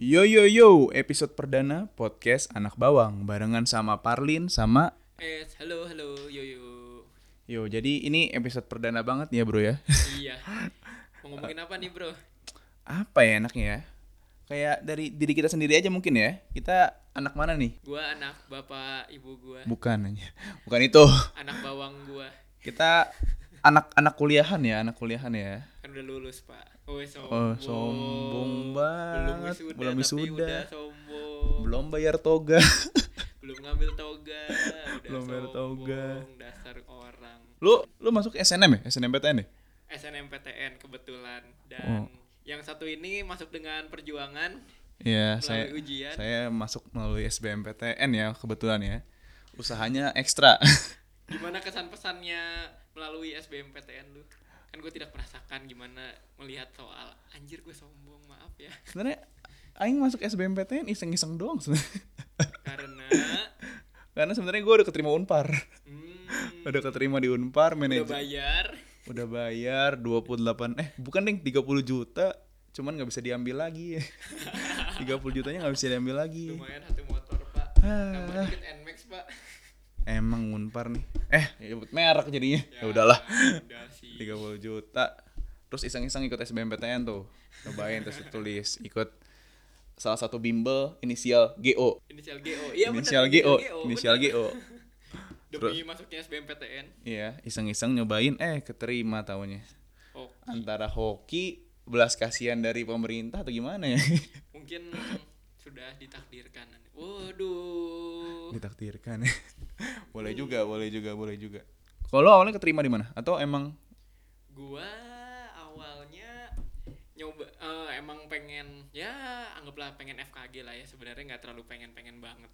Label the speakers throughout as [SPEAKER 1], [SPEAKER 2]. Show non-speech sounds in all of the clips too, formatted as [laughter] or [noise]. [SPEAKER 1] Yo yo yo, episode perdana podcast Anak Bawang barengan sama Parlin sama
[SPEAKER 2] Eh, halo, halo, yo, yo.
[SPEAKER 1] Yo, jadi ini episode perdana banget ya, Bro ya. [laughs]
[SPEAKER 2] iya. Mau ngomongin apa nih, bro?
[SPEAKER 1] Apa ya enaknya ya? Kayak dari diri kita sendiri aja mungkin ya. Kita anak mana nih?
[SPEAKER 2] Gua anak bapak ibu gua,
[SPEAKER 1] Bukan [laughs] Bukan itu.
[SPEAKER 2] anak bawang gua.
[SPEAKER 1] Kita anak-anak kuliahan ya, anak kuliahan ya.
[SPEAKER 2] Kan udah lulus, Pak. Oh, sombong.
[SPEAKER 1] Oh, sombong
[SPEAKER 2] Belum
[SPEAKER 1] banget.
[SPEAKER 2] wisuda,
[SPEAKER 1] Belum
[SPEAKER 2] tapi
[SPEAKER 1] wisuda.
[SPEAKER 2] udah sombong. Belum.
[SPEAKER 1] Belum bayar toga. [laughs]
[SPEAKER 2] ngambil toga. Udah
[SPEAKER 1] Belum bayar
[SPEAKER 2] sombong,
[SPEAKER 1] toga.
[SPEAKER 2] Dasar orang.
[SPEAKER 1] Lu lu masuk SNM ya? SNMPTN ya?
[SPEAKER 2] SNMPTN kebetulan
[SPEAKER 1] Oh.
[SPEAKER 2] dan yang satu ini masuk dengan perjuangan
[SPEAKER 1] Iya,
[SPEAKER 2] melalui
[SPEAKER 1] saya
[SPEAKER 2] ujian.
[SPEAKER 1] saya masuk melalui SBMPTN ya kebetulan ya. Usahanya ekstra. [laughs]
[SPEAKER 2] Gimana kesan pesannya melalui SBMPTN lu? Kan gue tidak merasakan gimana melihat soal anjir gue sombong maaf ya
[SPEAKER 1] sebenarnya aing masuk SBMPTN iseng-iseng doang sebenarnya. [laughs]
[SPEAKER 2] karena
[SPEAKER 1] Karena sebenarnya gue udah keterima Unpar. [laughs]
[SPEAKER 2] hmm,
[SPEAKER 1] Udah keterima di Unpar
[SPEAKER 2] udah
[SPEAKER 1] manajer
[SPEAKER 2] bayar
[SPEAKER 1] udah bayar 28 eh bukan ding 30 juta cuman nggak bisa diambil lagi [laughs] 30 jutanya nggak bisa diambil lagi
[SPEAKER 2] lumayan satu motor pak
[SPEAKER 1] Ah.
[SPEAKER 2] tambah dikit nmax pak
[SPEAKER 1] emang unpar nih eh nyebut merek jadinya ya udahlah
[SPEAKER 2] udah sih
[SPEAKER 1] 30 juta terus iseng-iseng ikut SBMPTN tuh cobain terus tulis ikut salah satu bimbel inisial GO
[SPEAKER 2] inisial go iya bener,
[SPEAKER 1] inisial GO
[SPEAKER 2] inisial
[SPEAKER 1] inisial GO
[SPEAKER 2] bener. demi masuknya sbmptn
[SPEAKER 1] iya iseng-iseng nyobain eh keterima tahunya
[SPEAKER 2] oh
[SPEAKER 1] antara hoki belas kasihan dari pemerintah atau gimana ya
[SPEAKER 2] mungkin sudah ditakdirkan waduh
[SPEAKER 1] [laughs] ditakdirkan ya [laughs] boleh juga boleh juga boleh juga kalau lo awalnya keterima di mana atau emang
[SPEAKER 2] gua awalnya nyoba eh, emang pengen ya anggaplah pengen FKG lah ya sebenarnya nggak terlalu pengen pengen banget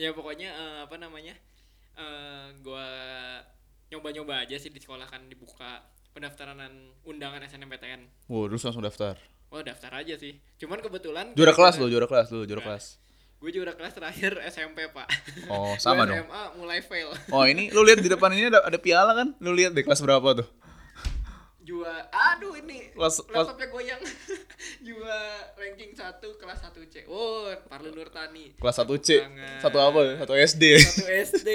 [SPEAKER 2] ya pokoknya eh, apa namanya eh, gua nyoba nyoba aja sih di sekolah kan dibuka pendaftaran undangan SNMPTN
[SPEAKER 1] wow terus langsung daftar
[SPEAKER 2] wah daftar aja sih cuman kebetulan
[SPEAKER 1] juara kelas lo juara kelas lo juara kelas
[SPEAKER 2] gue juara kelas terakhir SMP pak
[SPEAKER 1] Oh,
[SPEAKER 2] Gua
[SPEAKER 1] sama dong.
[SPEAKER 2] SMA mulai fail
[SPEAKER 1] oh ini lo lihat di depan ini ada, ada piala kan lo lihat deh kelas berapa tuh
[SPEAKER 2] juara aduh ini
[SPEAKER 1] Kelas- kelas-
[SPEAKER 2] laptopnya goyang [laughs] juara ranking 1 kelas 1 C oh Parlu Nurtani
[SPEAKER 1] kelas 1 C
[SPEAKER 2] Tangan.
[SPEAKER 1] satu apa ya? satu
[SPEAKER 2] [laughs]
[SPEAKER 1] SD
[SPEAKER 2] satu
[SPEAKER 1] [laughs]
[SPEAKER 2] SD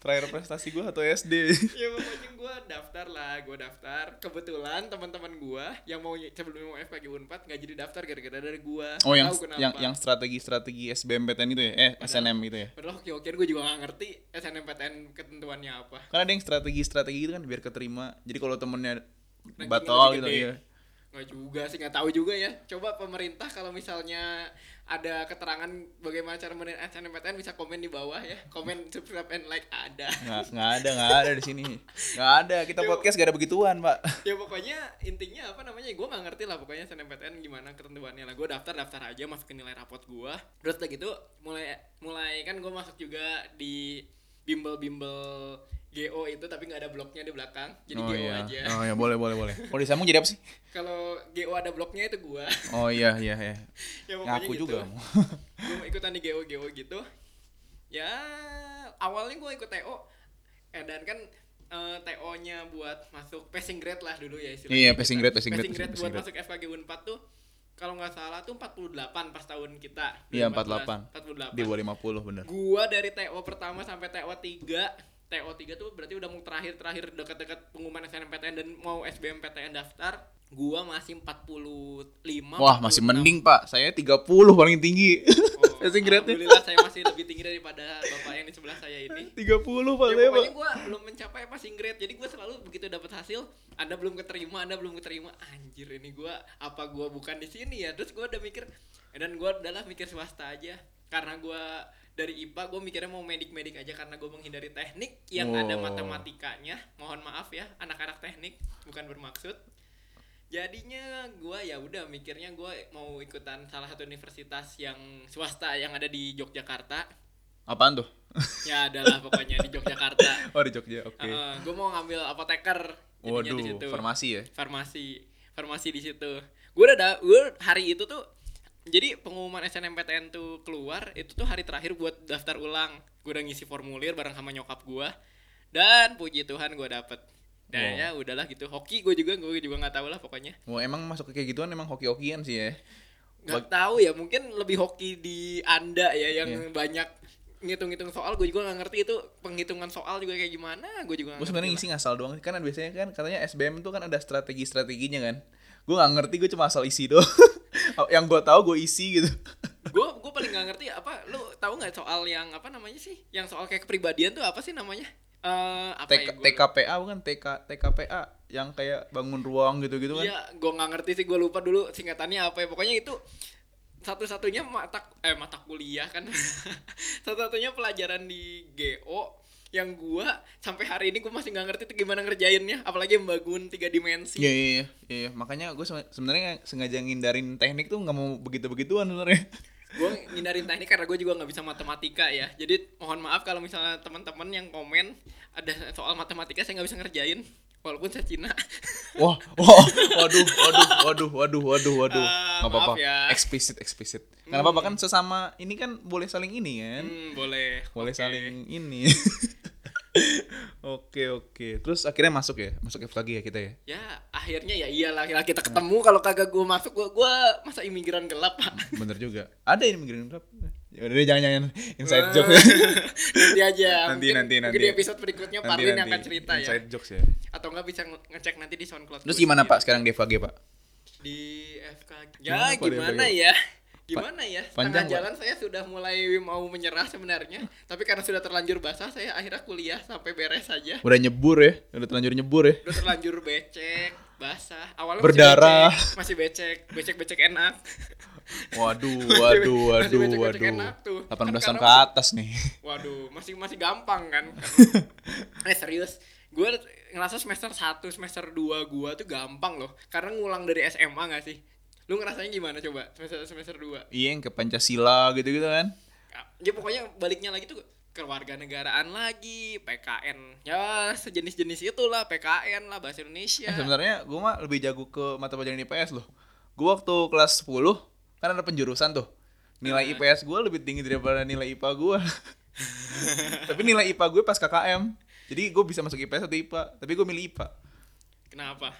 [SPEAKER 1] terakhir prestasi gue satu SD
[SPEAKER 2] ya pokoknya gue daftar lah gue daftar kebetulan teman-teman gue yang mau sebelum mau FKG Unpad nggak jadi daftar gara-gara dari gue
[SPEAKER 1] oh yang yang yang strategi strategi SBMPTN itu ya eh SNM gitu ya
[SPEAKER 2] padahal hoki hokian gue juga gak ngerti SNMPTN ketentuannya apa
[SPEAKER 1] karena ada yang strategi strategi gitu kan biar keterima jadi kalau temennya
[SPEAKER 2] Rankingnya
[SPEAKER 1] batal
[SPEAKER 2] lebih
[SPEAKER 1] gitu
[SPEAKER 2] gede.
[SPEAKER 1] ya
[SPEAKER 2] nggak juga sih nggak tahu juga ya coba pemerintah kalau misalnya ada keterangan bagaimana cara menin SNMPTN bisa komen di bawah ya komen subscribe and like
[SPEAKER 1] [laughs]
[SPEAKER 2] ada
[SPEAKER 1] nggak nggak ada nggak ada di sini nggak ada kita podcast gak ada begituan pak
[SPEAKER 2] ya pokoknya intinya apa namanya gue nggak ngerti lah pokoknya SNMPTN gimana ketentuannya lah gue daftar daftar aja masukin nilai rapot gue terus udah gitu mulai mulai kan gue masuk juga di bimbel bimbel GO itu tapi nggak ada bloknya di belakang jadi
[SPEAKER 1] oh
[SPEAKER 2] GO
[SPEAKER 1] iya
[SPEAKER 2] aja
[SPEAKER 1] oh iya boleh boleh boleh kalau disambung jadi apa sih
[SPEAKER 2] kalau GO ada bloknya itu gue
[SPEAKER 1] oh iya iya iya
[SPEAKER 2] [laughs] ya pokoknya
[SPEAKER 1] ngaku
[SPEAKER 2] gitu.
[SPEAKER 1] juga
[SPEAKER 2] gue mau ikutan di GO GO gitu ya awalnya gue ikut TO eh, dan kan TO nya buat masuk passing grade lah dulu ya istilahnya
[SPEAKER 1] Iya,
[SPEAKER 2] kita.
[SPEAKER 1] passing grade, passing grade,
[SPEAKER 2] grade
[SPEAKER 1] passing
[SPEAKER 2] buat masuk FKG Unpad tuh kalau nggak salah tuh 48 pas tahun kita
[SPEAKER 1] Iya, 48
[SPEAKER 2] 2014.
[SPEAKER 1] di
[SPEAKER 2] 48
[SPEAKER 1] bawah 50 bener
[SPEAKER 2] gua dari TO pertama sampai TO 3 TO 3 tuh berarti udah mau terakhir-terakhir dekat-dekat pengumuman SNMPTN dan mau SBMPTN daftar gua masih 45
[SPEAKER 1] wah masih
[SPEAKER 2] 46.
[SPEAKER 1] mending pak saya 30 paling tinggi [laughs]
[SPEAKER 2] Oh,
[SPEAKER 1] passing grade-nya
[SPEAKER 2] Alhamdulillah saya masih lebih tinggi daripada bapak yang di sebelah saya
[SPEAKER 1] 30
[SPEAKER 2] ini.
[SPEAKER 1] pak
[SPEAKER 2] Ya,
[SPEAKER 1] saya pak
[SPEAKER 2] pokoknya gue belum mencapai passing grade Jadi gue selalu begitu dapat hasil Anda belum keterima, Anda belum keterima Anjir ini gue, apa gue bukan di sini ya Terus gue udah mikir eh, Dan gue adalah mikir swasta aja Karena gue dari IPA gue mikirnya mau medik-medik aja Karena gue menghindari teknik yang ada
[SPEAKER 1] Wow.
[SPEAKER 2] matematikanya Mohon maaf ya, anak-anak teknik Bukan bermaksud jadinya gua ya udah mikirnya gua mau ikutan salah satu universitas yang swasta yang ada di Yogyakarta
[SPEAKER 1] apaan tuh
[SPEAKER 2] ya adalah pokoknya di Yogyakarta
[SPEAKER 1] oh di Jogja oke
[SPEAKER 2] Heeh, gua mau ngambil apoteker Ah, jadinya di
[SPEAKER 1] waduh
[SPEAKER 2] situ.
[SPEAKER 1] farmasi ya
[SPEAKER 2] farmasi farmasi di situ gua udah da- gua hari itu tuh jadi pengumuman SNMPTN tuh keluar itu tuh hari terakhir buat daftar ulang gua udah ngisi formulir bareng sama nyokap gua dan puji Tuhan gua dapet dan
[SPEAKER 1] Wow.
[SPEAKER 2] ya udahlah gitu hoki gue juga gue juga nggak tahu lah pokoknya
[SPEAKER 1] Wah emang masuk ke kayak gituan emang hoki-hokian sih ya
[SPEAKER 2] nggak tahu ya mungkin lebih hoki di anda ya yang
[SPEAKER 1] Iya.
[SPEAKER 2] banyak ngitung-ngitung soal gue juga nggak ngerti itu penghitungan soal juga kayak gimana gue
[SPEAKER 1] gue
[SPEAKER 2] juga nggak
[SPEAKER 1] sebenarnya
[SPEAKER 2] ngerti
[SPEAKER 1] ngisi ngasal doang kan biasanya kan katanya SBM tuh kan ada strategi strateginya kan gue nggak ngerti gue cuma asal isi doang [laughs] yang gue tahu gue isi gitu
[SPEAKER 2] gue gue paling nggak ngerti apa lu tahu nggak soal yang apa namanya sih yang soal kayak kepribadian tuh apa sih namanya Eh apa
[SPEAKER 1] TK,
[SPEAKER 2] ya gua
[SPEAKER 1] TKPA bukan TK TKPA yang kayak bangun ruang gitu-gitu kan
[SPEAKER 2] Iya, gue nggak ngerti sih gue lupa dulu singkatannya apa ya. Pokoknya itu satu-satunya mata eh mata kuliah kan. [laughs] satu-satunya pelajaran di GO yang gua sampai hari ini gue masih nggak ngerti itu gimana ngerjainnya, apalagi membangun tiga dimensi.
[SPEAKER 1] Iya iya iya, iya iya. makanya gue sebenarnya sengaja ngindarin teknik tuh nggak mau begitu-begituan
[SPEAKER 2] [laughs]
[SPEAKER 1] sebenarnya.
[SPEAKER 2] Gue ngindarin teknik karena gue juga nggak bisa matematika ya. Jadi mohon maaf kalau misalnya teman-teman yang komen ada soal matematika saya nggak bisa ngerjain walaupun saya Cina.
[SPEAKER 1] Kan? Wah, wah, waduh, waduh, waduh, waduh, waduh, waduh.
[SPEAKER 2] Ah,
[SPEAKER 1] Nggak apa-apa.
[SPEAKER 2] maaf ya.
[SPEAKER 1] Eksplisit, eksplisit. Nggak apa-apa kan sesama ini kan boleh saling ini kan.
[SPEAKER 2] Hmm, boleh.
[SPEAKER 1] Boleh
[SPEAKER 2] Oke.
[SPEAKER 1] saling ini. [laughs] Oke, oke. Terus akhirnya masuk ya? Masuk F lagi ya kita ya?
[SPEAKER 2] ya akhirnya ya iyalah iyalah kita ketemu kalau kagak gue masuk gue gue masa imigran gelap pak
[SPEAKER 1] Bener juga. Ada ini migrain gelap. Ya udah deh, jangan jangan inside joke.
[SPEAKER 2] [laughs] nanti aja
[SPEAKER 1] Nanti,
[SPEAKER 2] mungkin,
[SPEAKER 1] nanti,
[SPEAKER 2] mungkin
[SPEAKER 1] nanti.
[SPEAKER 2] di episode berikutnya
[SPEAKER 1] [laughs]
[SPEAKER 2] Parlin
[SPEAKER 1] Nanti-nanti.
[SPEAKER 2] akan cerita ya
[SPEAKER 1] Inside jokes ya.
[SPEAKER 2] atau nggak bisa nge- ngecek nanti di SoundCloud
[SPEAKER 1] Terus
[SPEAKER 2] gue
[SPEAKER 1] gimana
[SPEAKER 2] sendiri.
[SPEAKER 1] Pak sekarang di FKG Pak?
[SPEAKER 2] di FKG
[SPEAKER 1] Gimana,
[SPEAKER 2] ya
[SPEAKER 1] Pak, di
[SPEAKER 2] gimana
[SPEAKER 1] FKG?
[SPEAKER 2] ya gimana ya
[SPEAKER 1] panjang,
[SPEAKER 2] setengah
[SPEAKER 1] Pak.
[SPEAKER 2] jalan saya sudah mulai mau menyerah sebenarnya tapi karena sudah terlanjur basah saya akhirnya kuliah sampai beres saja
[SPEAKER 1] Udah nyebur ya? Udah terlanjur nyebur ya?
[SPEAKER 2] udah terlanjur becek basah awalnya
[SPEAKER 1] Berdarah.
[SPEAKER 2] masih becek masih becek becek enak [laughs]
[SPEAKER 1] Waduh,
[SPEAKER 2] Masih-
[SPEAKER 1] waduh,
[SPEAKER 2] masih
[SPEAKER 1] waduh,
[SPEAKER 2] becek-becek
[SPEAKER 1] waduh.
[SPEAKER 2] enak tuh.
[SPEAKER 1] 18 tahun
[SPEAKER 2] Kan
[SPEAKER 1] ke
[SPEAKER 2] karena-
[SPEAKER 1] atas nih. [laughs]
[SPEAKER 2] Waduh, masih masih gampang kan? eh serius, gue ngerasa semester 1, semester 2 gua tuh gampang loh. Karena ngulang dari SMA gak sih? Lu ngerasanya gimana coba semester semester 2?
[SPEAKER 1] Iya yang ke Pancasila gitu-gitu kan.
[SPEAKER 2] Ya pokoknya baliknya lagi tuh kewarganegaraan lagi, PKN. Ya sejenis-jenis itulah, PKN lah bahasa Indonesia.
[SPEAKER 1] Eh, sebenarnya gue mah lebih jago ke mata pelajaran IPS loh. Gue waktu kelas 10 kan ada penjurusan tuh. Nilai
[SPEAKER 2] Eh.
[SPEAKER 1] IPS gue lebih tinggi daripada nilai IPA gue.
[SPEAKER 2] [laughs]
[SPEAKER 1] Tapi nilai IPA gue pas KKM. Jadi gue bisa masuk IPS atau IPA. Tapi gue milih IPA.
[SPEAKER 2] Kenapa?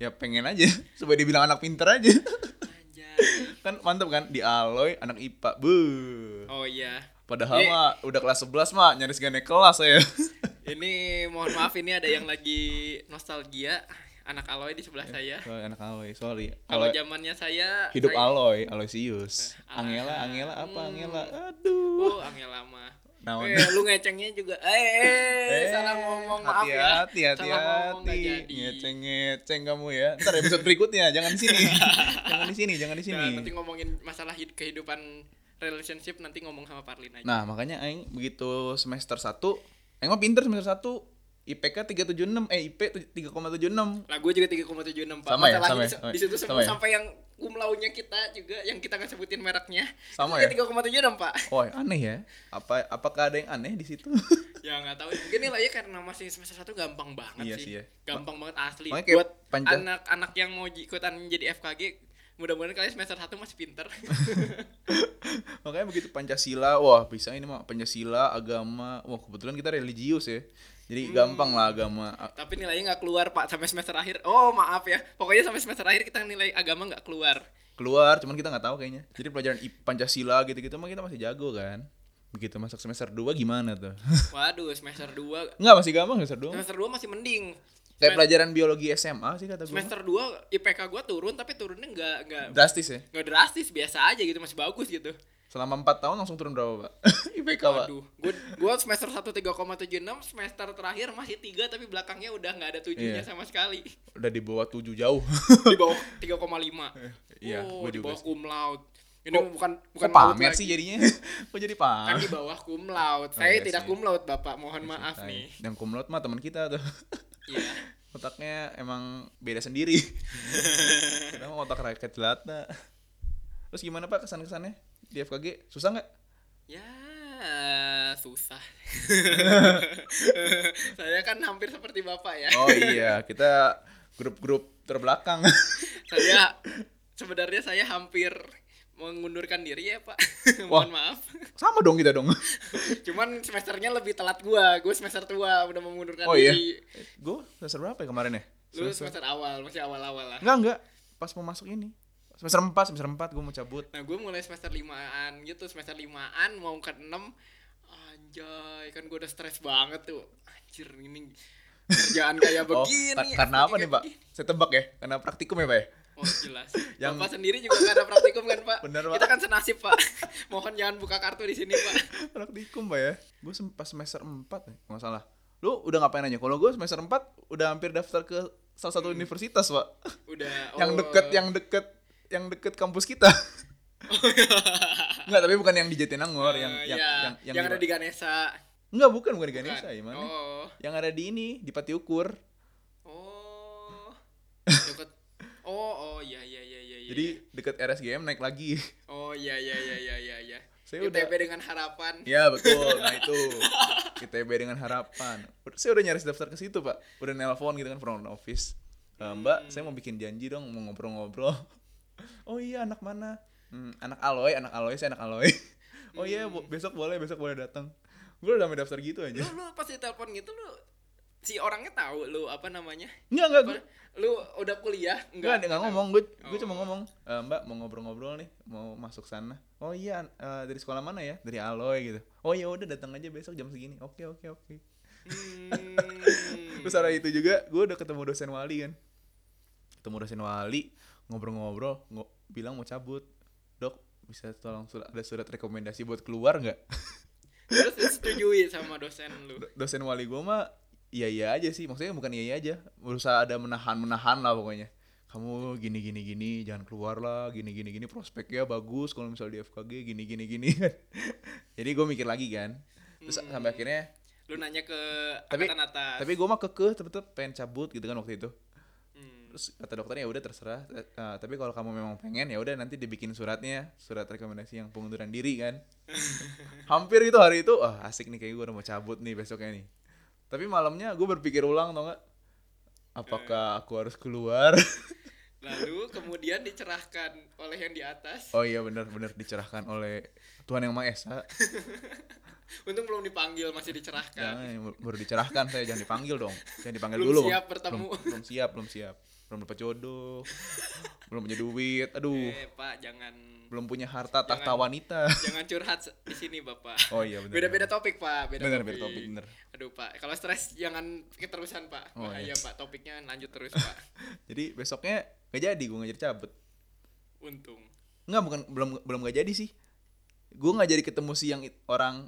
[SPEAKER 1] Ya pengen aja. [laughs] Supaya dibilang anak pinter aja. [laughs]
[SPEAKER 2] Anjay.
[SPEAKER 1] kan mantep kan. Di Aloy anak IPA. Buh.
[SPEAKER 2] Oh iya.
[SPEAKER 1] Padahal
[SPEAKER 2] Iya.
[SPEAKER 1] mah udah kelas 11 mah nyaris gak naik kelas ya. saya.
[SPEAKER 2] Ini mohon maaf ini ada yang lagi nostalgia anak Aloy di sebelah saya.
[SPEAKER 1] [laughs] Sorry, anak Aloy, sorry.
[SPEAKER 2] Iya. Kalau
[SPEAKER 1] Iya. Aloy,
[SPEAKER 2] zamannya saya
[SPEAKER 1] hidup
[SPEAKER 2] saya-
[SPEAKER 1] Aloy, Aloysius.
[SPEAKER 2] Ah.
[SPEAKER 1] Angela, Angela apa
[SPEAKER 2] Hmm.
[SPEAKER 1] Angela? Aduh.
[SPEAKER 2] Oh, angin lama.
[SPEAKER 1] Naon.
[SPEAKER 2] Eh, lu ngecengnya juga. Eh, eh,
[SPEAKER 1] Eh,
[SPEAKER 2] salah ngomong maaf
[SPEAKER 1] hati,
[SPEAKER 2] ya.
[SPEAKER 1] Hati, hati,
[SPEAKER 2] salah ngomong
[SPEAKER 1] hati.
[SPEAKER 2] nggak jadi.
[SPEAKER 1] Ngeceng, ngeceng kamu ya. Ntar episode berikutnya, jangan di sini. jangan di sini, jangan di
[SPEAKER 2] Nah,
[SPEAKER 1] sini.
[SPEAKER 2] nanti ngomongin masalah hid- kehidupan relationship nanti ngomong sama Parlin aja.
[SPEAKER 1] Nah, makanya aing begitu semester 1, aing mah pinter semester 1. IPK 376, eh IP 3,76.
[SPEAKER 2] Lah gue Nah, juga 3,76 Pak.
[SPEAKER 1] Sama ya,
[SPEAKER 2] Masalah
[SPEAKER 1] sama
[SPEAKER 2] di,
[SPEAKER 1] ya, sama
[SPEAKER 2] di
[SPEAKER 1] ya,
[SPEAKER 2] situ
[SPEAKER 1] sama
[SPEAKER 2] semua
[SPEAKER 1] ya.
[SPEAKER 2] sampai yang kumlaunya kita juga yang kita nggak sebutin mereknya.
[SPEAKER 1] Sama
[SPEAKER 2] Itu
[SPEAKER 1] ya?
[SPEAKER 2] juga 3,76 Pak.
[SPEAKER 1] Oh, aneh ya. Apa apakah ada yang aneh di situ? [laughs]
[SPEAKER 2] ya nggak tahu. Mungkin nilainya karena masih semester 1 gampang banget
[SPEAKER 1] Iya
[SPEAKER 2] sih.
[SPEAKER 1] sih ya.
[SPEAKER 2] Gampang banget asli.
[SPEAKER 1] Makanya kayak
[SPEAKER 2] Buat
[SPEAKER 1] panca-
[SPEAKER 2] anak-anak yang mau j- ikutan jadi FKG, mudah-mudahan kalian semester 1 masih pinter. [laughs]
[SPEAKER 1] Makanya begitu Pancasila, wah bisa ini mah Pancasila, agama, wah kebetulan kita religius ya. Jadi
[SPEAKER 2] Hmm.
[SPEAKER 1] gampang lah agama. A-
[SPEAKER 2] Tapi nilainya nggak keluar pak sampai semester akhir. Oh maaf ya, pokoknya sampai semester akhir kita nilai agama nggak keluar.
[SPEAKER 1] Keluar, cuman kita nggak tahu kayaknya. Jadi pelajaran I- Pancasila gitu-gitu mah kita masih jago kan. Begitu masuk semester 2 gimana tuh? [laughs]
[SPEAKER 2] Waduh semester 2
[SPEAKER 1] Enggak, masih gampang semester 2.
[SPEAKER 2] semester 2 masih mending.
[SPEAKER 1] Kayak
[SPEAKER 2] Semen-
[SPEAKER 1] pelajaran biologi SMA sih kata gue.
[SPEAKER 2] Semester 2 IPK gua turun tapi turunnya nggak nggak
[SPEAKER 1] Drastis ya.
[SPEAKER 2] nggak drastis biasa aja gitu masih bagus gitu.
[SPEAKER 1] Selama 4 tahun langsung turun berapa, Pak? [laughs] IPK, Pak.
[SPEAKER 2] Waduh, gua, gua semester 1 3,76 semester terakhir masih 3 tapi belakangnya udah nggak ada tujuhnya
[SPEAKER 1] Iya.
[SPEAKER 2] sama
[SPEAKER 1] [laughs]
[SPEAKER 2] sekali.
[SPEAKER 1] Udah di bawah 7 jauh. [laughs]
[SPEAKER 2] Di bawah 3,5.
[SPEAKER 1] Iya,
[SPEAKER 2] oh,
[SPEAKER 1] gue
[SPEAKER 2] di
[SPEAKER 1] juga.
[SPEAKER 2] bawah
[SPEAKER 1] sih.
[SPEAKER 2] cum laude. Ini
[SPEAKER 1] Kok-
[SPEAKER 2] bukan bukan
[SPEAKER 1] Kok
[SPEAKER 2] laude
[SPEAKER 1] pamer
[SPEAKER 2] lagi.
[SPEAKER 1] sih jadinya? [laughs] Kok jadi
[SPEAKER 2] kan
[SPEAKER 1] pamer?
[SPEAKER 2] di bawah cum laude.
[SPEAKER 1] Oh,
[SPEAKER 2] Saya
[SPEAKER 1] iya
[SPEAKER 2] tidak
[SPEAKER 1] sih.
[SPEAKER 2] cum laude, Bapak. Mohon maaf nih.
[SPEAKER 1] Yang kumlot mah teman kita tuh.
[SPEAKER 2] Iya.
[SPEAKER 1] otaknya emang beda [laughs] sendiri karena emang otak rakyat jelata terus gimana pak kesan kesannya di FKG susah nggak
[SPEAKER 2] Ya
[SPEAKER 1] [laughs]
[SPEAKER 2] susah. [laughs] saya kan hampir seperti bapak ya.
[SPEAKER 1] oh iya kita grup-grup terbelakang
[SPEAKER 2] Saya sebenarnya saya hampir mengundurkan diri ya
[SPEAKER 1] [laughs]
[SPEAKER 2] pak.
[SPEAKER 1] Wah.
[SPEAKER 2] Mohon maaf.
[SPEAKER 1] [laughs] sama dong kita dong
[SPEAKER 2] Cuman semesternya lebih telat gua. Gue semester tua udah mengundurkan
[SPEAKER 1] Oh, iya?
[SPEAKER 2] diri.
[SPEAKER 1] gue semester berapa ya kemarin ya
[SPEAKER 2] Lu semester awal masih awal-awal lah.
[SPEAKER 1] enggak enggak pas mau masuk ini pas semester 4 semester 4 gue mau cabut
[SPEAKER 2] Nah gue mulai semester limaan gitu Semester limaan mau ke enam Anjay kan gue udah stres banget tuh Anjir ini kerjaan kayak
[SPEAKER 1] [laughs] oh
[SPEAKER 2] begini
[SPEAKER 1] kar- karena apa
[SPEAKER 2] apalagi
[SPEAKER 1] nih
[SPEAKER 2] kayak
[SPEAKER 1] pak
[SPEAKER 2] begini.
[SPEAKER 1] saya tebak ya karena praktikum ya pak ya
[SPEAKER 2] Oh jelas
[SPEAKER 1] [laughs] Yang-
[SPEAKER 2] Bapak sendiri juga gak ada praktikum kan pak
[SPEAKER 1] Bener, Pak.
[SPEAKER 2] Kita kan senasib pak Mohon jangan buka kartu di sini pak
[SPEAKER 1] praktikum pak ya gue pas semester 4 ya kalau nggak salah lu udah ngapain aja kalau gue semester 4 udah hampir daftar ke salah satu universitas pak
[SPEAKER 2] Udah
[SPEAKER 1] yang
[SPEAKER 2] Hmm. oh.
[SPEAKER 1] deket yang deket yang deket kampus
[SPEAKER 2] [laughs]
[SPEAKER 1] kita Enggak, tapi bukan yang di Jatinangor, yang
[SPEAKER 2] Eh,
[SPEAKER 1] yang,
[SPEAKER 2] ya,
[SPEAKER 1] yang yang
[SPEAKER 2] ada di Ganesa
[SPEAKER 1] Enggak, bukan bukan di
[SPEAKER 2] Bukan.
[SPEAKER 1] Ganesha, gimana?
[SPEAKER 2] Oh
[SPEAKER 1] Yang ada di ini, di Pati Ukur. [laughs]
[SPEAKER 2] Oh Deket Oh oh iya iya iya iya iya.
[SPEAKER 1] Jadi deket RSGM naik lagi.
[SPEAKER 2] Oh iya iya iya iya iya iya.
[SPEAKER 1] Saya udah-
[SPEAKER 2] ITB dengan harapan.
[SPEAKER 1] ya, betul. Nah, itu. ITB dengan harapan. Udah- Saya udah nyaris daftar ke situ, Pak. Udah nelpon gitu kan front office. E, Mbak,
[SPEAKER 2] Hmm.
[SPEAKER 1] saya mau bikin janji dong, mau ngobrol-ngobrol. [laughs] Oh iya, anak mana? Hmm, anak Aloy, anak Aloy, saya anak Aloy. [laughs] Oh iya, bo- besok boleh, besok boleh datang. Gue udah sampai daftar gitu
[SPEAKER 2] Lu
[SPEAKER 1] aja.
[SPEAKER 2] Hmm. lu pas ditelepon gitu lu si orangnya tahu lu apa namanya?
[SPEAKER 1] Enggak, enggak,
[SPEAKER 2] Apa- Lu udah kuliah?
[SPEAKER 1] Enggak, enggak ngomong. Gue gue
[SPEAKER 2] Oh.
[SPEAKER 1] cuma ngomong, "Eh, Mbak mau ngobrol-ngobrol nih, mau masuk sana." Oh iya, eh, dari sekolah mana ya? Dari Aloy gitu. Oh ya udah datang aja besok jam segini. Oke, oke, oke.
[SPEAKER 2] Hmm.
[SPEAKER 1] Terus ada itu juga, gue udah ketemu dosen wali kan. Ketemu dosen wali, ngobrol-ngobrol, ngo- bilang mau cabut. Dok, bisa tolong sur- ada surat rekomendasi buat keluar nggak?
[SPEAKER 2] Terus disetujui sama dosen lu.
[SPEAKER 1] Do- dosen wali gue mah iya iya aja sih maksudnya bukan iya iya aja berusaha ada menahan menahan lah pokoknya kamu gini gini gini jangan keluar lah gini gini gini prospeknya bagus kalau misalnya di FKG gini gini gini kan. [laughs] jadi gue mikir lagi kan terus sampai akhirnya
[SPEAKER 2] Lu nanya ke
[SPEAKER 1] Tapi-
[SPEAKER 2] angkatan atas.
[SPEAKER 1] tapi gue mah kekeh tetep tetep pengen cabut gitu kan waktu itu
[SPEAKER 2] Hmm.
[SPEAKER 1] terus kata dokternya ya udah terserah eh, eh, tapi kalau kamu memang pengen ya udah nanti dibikin suratnya surat rekomendasi yang pengunduran diri
[SPEAKER 2] [laughs]
[SPEAKER 1] kan hampir itu hari itu ah asik nih kayak gue udah mau cabut nih besoknya nih tapi malamnya gue berpikir ulang tau gak
[SPEAKER 2] Eh.
[SPEAKER 1] apakah aku harus keluar [laughs]
[SPEAKER 2] Lalu kemudian dicerahkan oleh yang di atas.
[SPEAKER 1] oh iya benar-benar dicerahkan oleh Tuhan yang Maha
[SPEAKER 2] [laughs]
[SPEAKER 1] Esa
[SPEAKER 2] Untung belum dipanggil masih dicerahkan.
[SPEAKER 1] jangan baru dicerahkan saya jangan dipanggil dong jangan dipanggil
[SPEAKER 2] Belum
[SPEAKER 1] dulu
[SPEAKER 2] siap
[SPEAKER 1] Bang.
[SPEAKER 2] bertemu.
[SPEAKER 1] belum, belum siap belum siap belum dapat jodoh belum punya duit aduh
[SPEAKER 2] Eh, Pak, jangan
[SPEAKER 1] belum punya harta tahta
[SPEAKER 2] Jangan.
[SPEAKER 1] wanita [laughs]
[SPEAKER 2] jangan curhat se- di sini, Bapak.
[SPEAKER 1] oh iya benar
[SPEAKER 2] Beda-beda topik, Pak. Beda
[SPEAKER 1] Bener,
[SPEAKER 2] topik.
[SPEAKER 1] beda topik, bener.
[SPEAKER 2] Aduh, Pak. Kalau stres jangan keterusan, Pak.
[SPEAKER 1] Oh,
[SPEAKER 2] Bahaya,
[SPEAKER 1] iya.
[SPEAKER 2] Pak. Topiknya lanjut terus, Pak.
[SPEAKER 1] [laughs] Jadi besoknya gak jadi gue ngajar cabut.
[SPEAKER 2] Untung.
[SPEAKER 1] Enggak bukan belum belum gak jadi sih. Gue nggak jadi ketemu si yang it- orang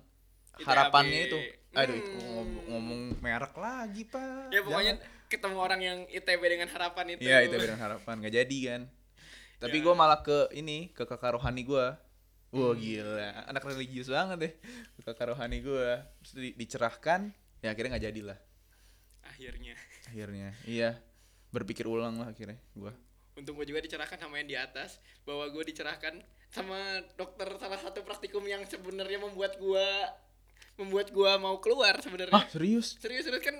[SPEAKER 2] ITAB.
[SPEAKER 1] harapannya itu. Aduh
[SPEAKER 2] Hmm.
[SPEAKER 1] itu ngom- ngomong merek lagi pak.
[SPEAKER 2] Ya pokoknya
[SPEAKER 1] Jangan.
[SPEAKER 2] ketemu orang yang ITB dengan harapan itu.
[SPEAKER 1] Iya itu beneran harapan gak jadi kan. Tapi
[SPEAKER 2] Ya.
[SPEAKER 1] gue
[SPEAKER 2] Hmm.
[SPEAKER 1] malah ke ini ke kakak rohani gue. Wah gila anak religius banget deh Ke kakak rohani gue. Terus di- dicerahkan ya akhirnya nggak jadilah
[SPEAKER 2] Akhirnya.
[SPEAKER 1] akhirnya. Iya berpikir ulang lah akhirnya gue.
[SPEAKER 2] Untung gue juga dicerahkan sama yang di atas bahwa gue dicerahkan sama dokter salah satu praktikum yang sebenarnya membuat gua membuat gua mau keluar sebenarnya.
[SPEAKER 1] Ah serius?
[SPEAKER 2] serius serius kan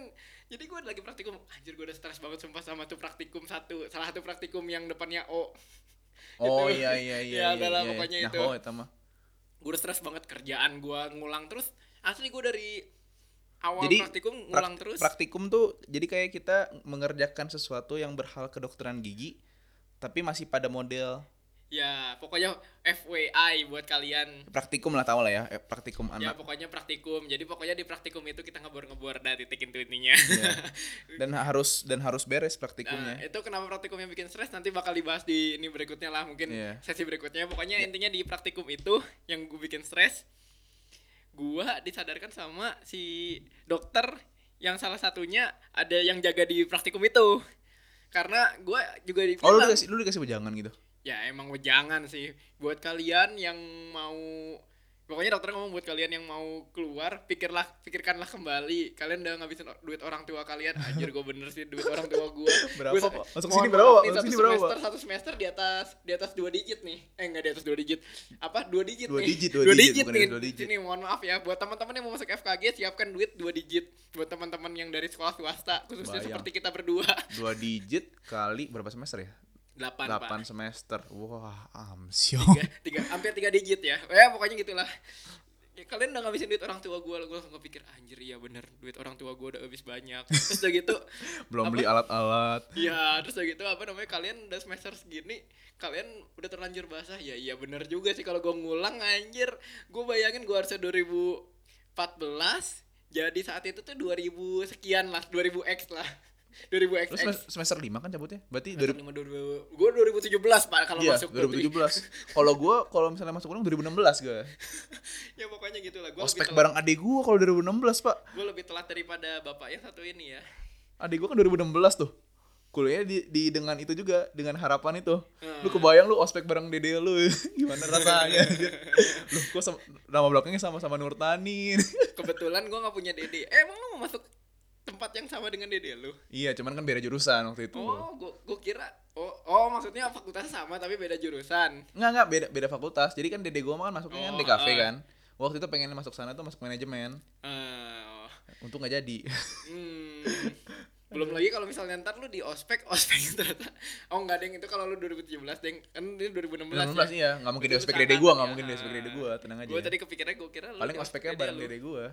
[SPEAKER 2] jadi gue lagi praktikum anjir gue udah stres banget sumpah sama tuh praktikum satu salah satu praktikum yang depannya O
[SPEAKER 1] Oh
[SPEAKER 2] Gitu.
[SPEAKER 1] iya iya
[SPEAKER 2] Ya,
[SPEAKER 1] iya. iya,
[SPEAKER 2] adalah
[SPEAKER 1] iya.
[SPEAKER 2] pokoknya
[SPEAKER 1] Nah,
[SPEAKER 2] itu.
[SPEAKER 1] Oh itu mah.
[SPEAKER 2] gue udah stres banget kerjaan gue ngulang terus asli gue dari awal
[SPEAKER 1] Jadi,
[SPEAKER 2] praktikum
[SPEAKER 1] Prak-
[SPEAKER 2] ngulang terus
[SPEAKER 1] Praktikum tuh jadi kayak kita mengerjakan sesuatu yang berhal kedokteran gigi tapi masih pada model
[SPEAKER 2] ya pokoknya FYI buat kalian
[SPEAKER 1] praktikum lah tau lah ya, eh, praktikum
[SPEAKER 2] ya
[SPEAKER 1] anak.
[SPEAKER 2] pokoknya praktikum jadi pokoknya di praktikum itu kita ngebor-ngebor dah titik itu intinya
[SPEAKER 1] Iya.
[SPEAKER 2] [laughs]
[SPEAKER 1] Dan harus dan harus beres praktikumnya.
[SPEAKER 2] Nah, itu kenapa praktikumnya bikin stres nanti bakal dibahas di ini berikutnya lah mungkin
[SPEAKER 1] Iya.
[SPEAKER 2] sesi berikutnya. Pokoknya intinya di praktikum itu yang gue bikin stres, gua disadarkan sama si dokter yang salah satunya ada yang jaga di praktikum itu. Karena gua juga di
[SPEAKER 1] oh lu dikasih lu dikasih wejangan gitu.
[SPEAKER 2] ya emang jangan sih buat kalian yang mau pokoknya dokter ngomong buat kalian yang mau keluar pikirlah pikirkanlah kembali kalian udah ngabisin o- duit orang tua kalian anjir gue bener sih duit orang tua gue
[SPEAKER 1] [laughs] Berapa,
[SPEAKER 2] Gua-
[SPEAKER 1] Pak? Masuk
[SPEAKER 2] mohon
[SPEAKER 1] sini
[SPEAKER 2] maaf
[SPEAKER 1] berapa, Pak?
[SPEAKER 2] nih,
[SPEAKER 1] Masuk
[SPEAKER 2] satu
[SPEAKER 1] sini berapa,
[SPEAKER 2] semester
[SPEAKER 1] Pak?
[SPEAKER 2] satu semester di atas di atas dua digit nih eh enggak di atas dua digit apa dua digit
[SPEAKER 1] Dua
[SPEAKER 2] nih
[SPEAKER 1] digit, dua digit, bukan
[SPEAKER 2] nih
[SPEAKER 1] dua digit.
[SPEAKER 2] sini mohon maaf ya buat teman-teman yang mau masuk FKG siapkan duit dua digit buat teman-teman yang dari sekolah swasta khususnya
[SPEAKER 1] Bayang.
[SPEAKER 2] seperti kita berdua [laughs]
[SPEAKER 1] Dua digit kali berapa semester ya?
[SPEAKER 2] delapan pak
[SPEAKER 1] Delapan semester. Wah, amsyong.
[SPEAKER 2] tiga, tiga hampir tiga digit ya ya pokoknya gitulah ya kalian udah ngabisin duit orang tua gue gue langsung kepikir anjir iya bener duit orang tua gue udah habis banyak terus udah gitu
[SPEAKER 1] [laughs] belum beli alat-alat
[SPEAKER 2] ya terus udah gitu apa namanya kalian udah semester segini kalian udah terlanjur basah ya iya bener juga sih kalau gue ngulang anjir gue bayangin gue harusnya 2014 jadi saat itu tuh 2000 sekian lah 2000 x lah [laughs] 2000 x
[SPEAKER 1] terus mes- semester 5 kan cabutnya berarti dari
[SPEAKER 2] gue 2017 pak kalau
[SPEAKER 1] iya
[SPEAKER 2] masuk gua tuh.
[SPEAKER 1] 2017 kalau gue kalau misalnya masuk ulang 2016 gue
[SPEAKER 2] ya pokoknya gitulah gue lebih
[SPEAKER 1] ospek
[SPEAKER 2] telat
[SPEAKER 1] bareng adik gue kalau 2016 pak
[SPEAKER 2] gue lebih telat daripada bapak yang satu ini ya [laughs]
[SPEAKER 1] adik gue kan 2016 tuh kuliahnya di, di dengan itu juga dengan harapan itu
[SPEAKER 2] Hmm.
[SPEAKER 1] lu kebayang lu ospek bareng dede lu [laughs] gimana
[SPEAKER 2] [laughs]
[SPEAKER 1] rasanya lu kok sama, nama belakangnya sama-sama Nurtani
[SPEAKER 2] kebetulan gue nggak punya dede eh, emang lu mau masuk tempat yang sama dengan dede lu
[SPEAKER 1] [laughs] iya cuman kan beda jurusan waktu itu
[SPEAKER 2] oh gue kira oh oh maksudnya fakultas sama tapi beda jurusan
[SPEAKER 1] Enggak, enggak, beda beda fakultas. Jadi kan dede gua mah kan masuknya kan
[SPEAKER 2] Oh,
[SPEAKER 1] DKV
[SPEAKER 2] ah.
[SPEAKER 1] kan. Waktu itu pengen masuk sana tuh masuk manajemen.
[SPEAKER 2] Eh,
[SPEAKER 1] Untung nggak jadi.
[SPEAKER 2] hmm. belum lagi kalau misalnya ntar lu di ospek [laughs] ospek ternyata oh nggak deng itu kalau lu 2017 deng kan ini 2016
[SPEAKER 1] belas
[SPEAKER 2] ya
[SPEAKER 1] iya, nggak mungkin di
[SPEAKER 2] Itu
[SPEAKER 1] ospek
[SPEAKER 2] tangan
[SPEAKER 1] dede gua,
[SPEAKER 2] ya.
[SPEAKER 1] nggak mungkin di ospek dede gua, tenang aja. ya.
[SPEAKER 2] gue tadi kepikirannya gue kira lu
[SPEAKER 1] Paling
[SPEAKER 2] di
[SPEAKER 1] ospeknya
[SPEAKER 2] dede
[SPEAKER 1] bareng
[SPEAKER 2] lu.
[SPEAKER 1] dede gua.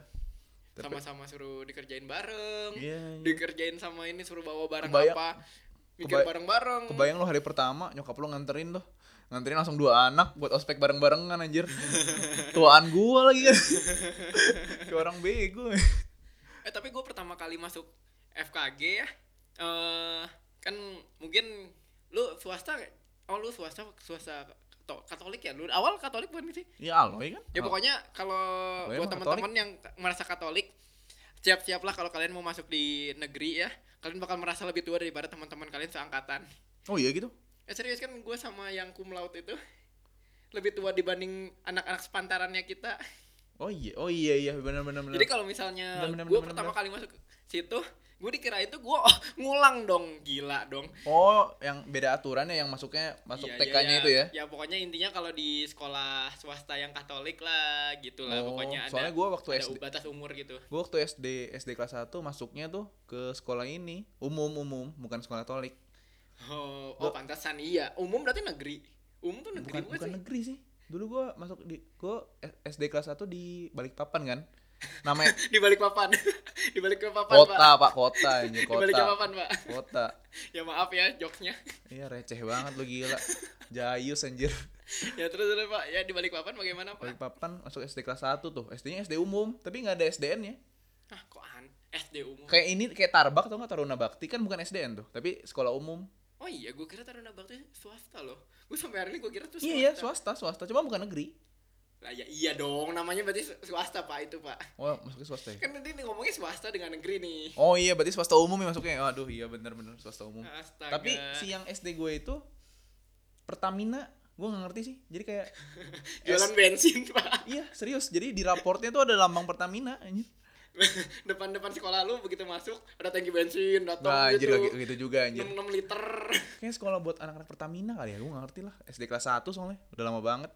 [SPEAKER 1] Tapi
[SPEAKER 2] sama-sama suruh dikerjain bareng
[SPEAKER 1] Iya, iya.
[SPEAKER 2] dikerjain sama ini suruh bawa barang
[SPEAKER 1] Kebayang-
[SPEAKER 2] apa mikir
[SPEAKER 1] kebay-
[SPEAKER 2] bareng-bareng
[SPEAKER 1] kebayang lu hari pertama nyokap lu nganterin tuh. Nganterin langsung dua anak buat ospek bareng-barengan anjir.
[SPEAKER 2] [laughs]
[SPEAKER 1] Tuaan gua lagi kan. Kayak orang bego.
[SPEAKER 2] eh tapi gue pertama kali masuk FKG ya eh kan mungkin lu swasta oh lu swasta swasta Kato- Katolik ya lu awal Katolik bukan sih
[SPEAKER 1] Iya, aloy kan.
[SPEAKER 2] ya pokoknya kalau
[SPEAKER 1] Pokoknya
[SPEAKER 2] buat
[SPEAKER 1] mah
[SPEAKER 2] teman-teman yang merasa Katolik siap-siaplah kalau kalian mau masuk di negeri ya kalian bakal merasa lebih tua daripada teman-teman kalian seangkatan
[SPEAKER 1] Oh iya gitu.
[SPEAKER 2] Eh serius kan gue sama yang cum laude itu lebih tua dibanding anak-anak sepantarannya kita.
[SPEAKER 1] Oh iya, oh iya iya benar benar benar.
[SPEAKER 2] Jadi kalau misalnya
[SPEAKER 1] Bener, bener,
[SPEAKER 2] gue
[SPEAKER 1] bener,
[SPEAKER 2] pertama kali masuk situ, gue dikirain tuh gue oh, ngulang dong, gila dong.
[SPEAKER 1] Oh, yang beda aturannya yang masuknya masuk
[SPEAKER 2] Iya, iya,
[SPEAKER 1] TK-nya
[SPEAKER 2] iya.
[SPEAKER 1] itu ya.
[SPEAKER 2] Ya pokoknya intinya kalau di sekolah swasta yang Katolik lah, gitulah
[SPEAKER 1] Oh,
[SPEAKER 2] pokoknya ada.
[SPEAKER 1] soalnya gue waktu
[SPEAKER 2] ada
[SPEAKER 1] SD
[SPEAKER 2] batas umur gitu.
[SPEAKER 1] gue waktu SD SD kelas 1 masuknya tuh ke sekolah ini umum umum bukan sekolah katolik
[SPEAKER 2] Oh, oh pantasan iya. Umum berarti negeri. Umum tuh negeri
[SPEAKER 1] bukan,
[SPEAKER 2] bukan,
[SPEAKER 1] bukan
[SPEAKER 2] [laughs] sih?
[SPEAKER 1] negeri sih dulu gue masuk di gue SD kelas 1 di Balikpapan kan
[SPEAKER 2] [laughs]
[SPEAKER 1] namanya
[SPEAKER 2] Di balik papan. di balik papan,
[SPEAKER 1] kota
[SPEAKER 2] [laughs] Pak.
[SPEAKER 1] pak kota ini
[SPEAKER 2] Di balik
[SPEAKER 1] kota
[SPEAKER 2] papan, Pak.
[SPEAKER 1] kota
[SPEAKER 2] Ya maaf ya jokesnya. [laughs]
[SPEAKER 1] iya receh banget lu gila jayus anjir
[SPEAKER 2] ya terus terus pak ya di balik papan bagaimana pak
[SPEAKER 1] Balikpapan masuk SD kelas 1 tuh SD-nya SD umum tapi nggak ada SDN nya
[SPEAKER 2] ah kok an SD umum
[SPEAKER 1] ya. kayak ini kayak Tarbak tau nggak Taruna Bakti kan bukan SDN tuh tapi sekolah umum
[SPEAKER 2] oh iya gue kira Taruna Bakti swasta loh gue sampai hari ini gue kira tuh
[SPEAKER 1] iya iya swasta swasta cuma bukan negeri
[SPEAKER 2] lah ya iya dong namanya berarti su- swasta pak itu pak
[SPEAKER 1] wah masuknya swasta ya
[SPEAKER 2] kan nanti nih ngomongnya swasta dengan negeri nih
[SPEAKER 1] Oh iya berarti swasta umum ya masuknya. Aduh iya bener-bener swasta umum.
[SPEAKER 2] Astaga.
[SPEAKER 1] Tapi si yang SD gue itu Pertamina, gue nggak ngerti sih. Jadi kayak
[SPEAKER 2] jualan bensin [laughs] pak
[SPEAKER 1] iya serius. Jadi di raportnya tuh ada lambang Pertamina. anjir.
[SPEAKER 2] depan-depan sekolah lu begitu masuk ada tangki bensin
[SPEAKER 1] Wah
[SPEAKER 2] datang
[SPEAKER 1] anjir
[SPEAKER 2] gitu
[SPEAKER 1] gak gitu juga anjir.
[SPEAKER 2] 6, 6 liter
[SPEAKER 1] Kayaknya sekolah buat anak-anak Pertamina kali ya. Gue nggak ngerti lah. SD kelas 1 soalnya udah lama banget.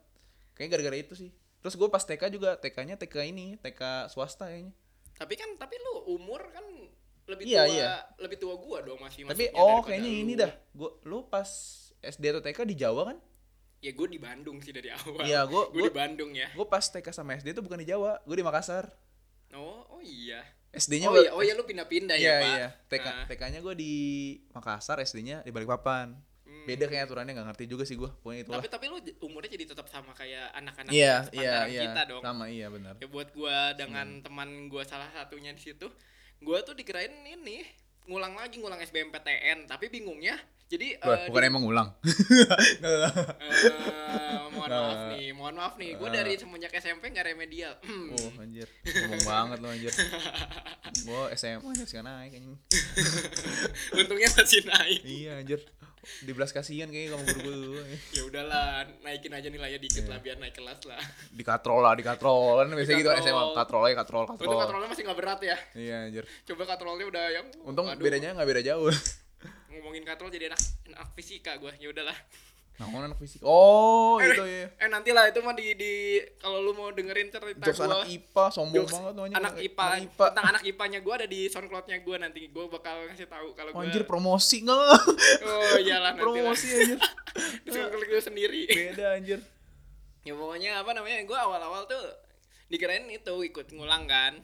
[SPEAKER 1] Kayaknya gara-gara itu sih. Terus gue pas TK juga TK-nya TK ini TK swasta kayaknya.
[SPEAKER 2] tapi kan tapi lu umur kan lebih
[SPEAKER 1] Iya,
[SPEAKER 2] tua
[SPEAKER 1] iya.
[SPEAKER 2] lebih tua gua dong masih
[SPEAKER 1] Tapi
[SPEAKER 2] masuknya
[SPEAKER 1] oh
[SPEAKER 2] daripada
[SPEAKER 1] kayaknya
[SPEAKER 2] lu.
[SPEAKER 1] ini dah. Gue lu pas SD atau TK di Jawa kan?
[SPEAKER 2] ya gue di Bandung sih dari awal
[SPEAKER 1] Iya, gua-
[SPEAKER 2] gue di
[SPEAKER 1] gua-
[SPEAKER 2] Bandung ya
[SPEAKER 1] Gue pas TK sama SD itu bukan di Jawa. Gue di Makassar.
[SPEAKER 2] oh oh iya
[SPEAKER 1] SD-nya
[SPEAKER 2] oh iya, oh iya lu pindah-pindah
[SPEAKER 1] Iya
[SPEAKER 2] ya, Pak.
[SPEAKER 1] iya. TK
[SPEAKER 2] Nah,
[SPEAKER 1] TK-nya gue di Makassar, SD-nya di Balikpapan.
[SPEAKER 2] hmm.
[SPEAKER 1] Beda kayak aturannya nggak ngerti juga sih gue. Pokoknya itulah.
[SPEAKER 2] Tapi tapi lu j- umurnya jadi tetap sama kayak anak-anak
[SPEAKER 1] Iya iya
[SPEAKER 2] sepantaran
[SPEAKER 1] iya.
[SPEAKER 2] kita dong.
[SPEAKER 1] Sama Hmm. iya benar.
[SPEAKER 2] Ya buat gua dengan teman gua salah satunya di situ, gua tuh dikirain ini ngulang lagi ngulang SBMPTN, tapi bingungnya jadi
[SPEAKER 1] Wah,
[SPEAKER 2] eh,
[SPEAKER 1] bukan
[SPEAKER 2] di-
[SPEAKER 1] emang ulang.
[SPEAKER 2] eh, mohon
[SPEAKER 1] Nah. [laughs]
[SPEAKER 2] maaf nih, mohon maaf nih. Gua
[SPEAKER 1] Nah.
[SPEAKER 2] dari semenjak SMP nggak remedial. Hmm,
[SPEAKER 1] oh anjir. Ngomong banget lo anjir. Gue SMA anjir sih naik anjing.
[SPEAKER 2] [laughs] Untungnya masih naik.
[SPEAKER 1] Iya anjir. Dibelas kasihan kayaknya kamu guru gue dulu.
[SPEAKER 2] Ya udahlah, naikin aja nilainya dikit
[SPEAKER 1] Iya.
[SPEAKER 2] lah biar naik kelas lah.
[SPEAKER 1] Dikatrol lah, dikatrol. Kan biasanya gitu
[SPEAKER 2] Dikatrol.
[SPEAKER 1] SMA. Katrol aja, katrol,
[SPEAKER 2] Untung
[SPEAKER 1] katrol.
[SPEAKER 2] katrolnya masih nggak berat ya.
[SPEAKER 1] Iya anjir.
[SPEAKER 2] Coba katrolnya udah yang
[SPEAKER 1] Untung
[SPEAKER 2] Waduh,
[SPEAKER 1] bedanya nggak beda jauh.
[SPEAKER 2] ngomongin katrol jadi anak anak fisika gue ya udahlah
[SPEAKER 1] Nah, anak fisik. Oh, itu ya.
[SPEAKER 2] eh nanti lah itu mah di di kalau lu mau dengerin cerita
[SPEAKER 1] Jokes
[SPEAKER 2] gue
[SPEAKER 1] anak IPA sombong
[SPEAKER 2] jokes
[SPEAKER 1] banget lo anjir.
[SPEAKER 2] anak IPA,
[SPEAKER 1] Anak IPA.
[SPEAKER 2] tentang anak IPA-nya gue ada di soundcloudnya gue nanti gue bakal ngasih tahu kalau
[SPEAKER 1] Oh,
[SPEAKER 2] gue
[SPEAKER 1] anjir promosi enggak
[SPEAKER 2] oh iyalah nanti lah
[SPEAKER 1] promosi
[SPEAKER 2] [laughs]
[SPEAKER 1] anjir
[SPEAKER 2] di soundcloud gue sendiri
[SPEAKER 1] beda anjir
[SPEAKER 2] ya pokoknya apa namanya gue awal-awal tuh dikirain itu ikut ngulang kan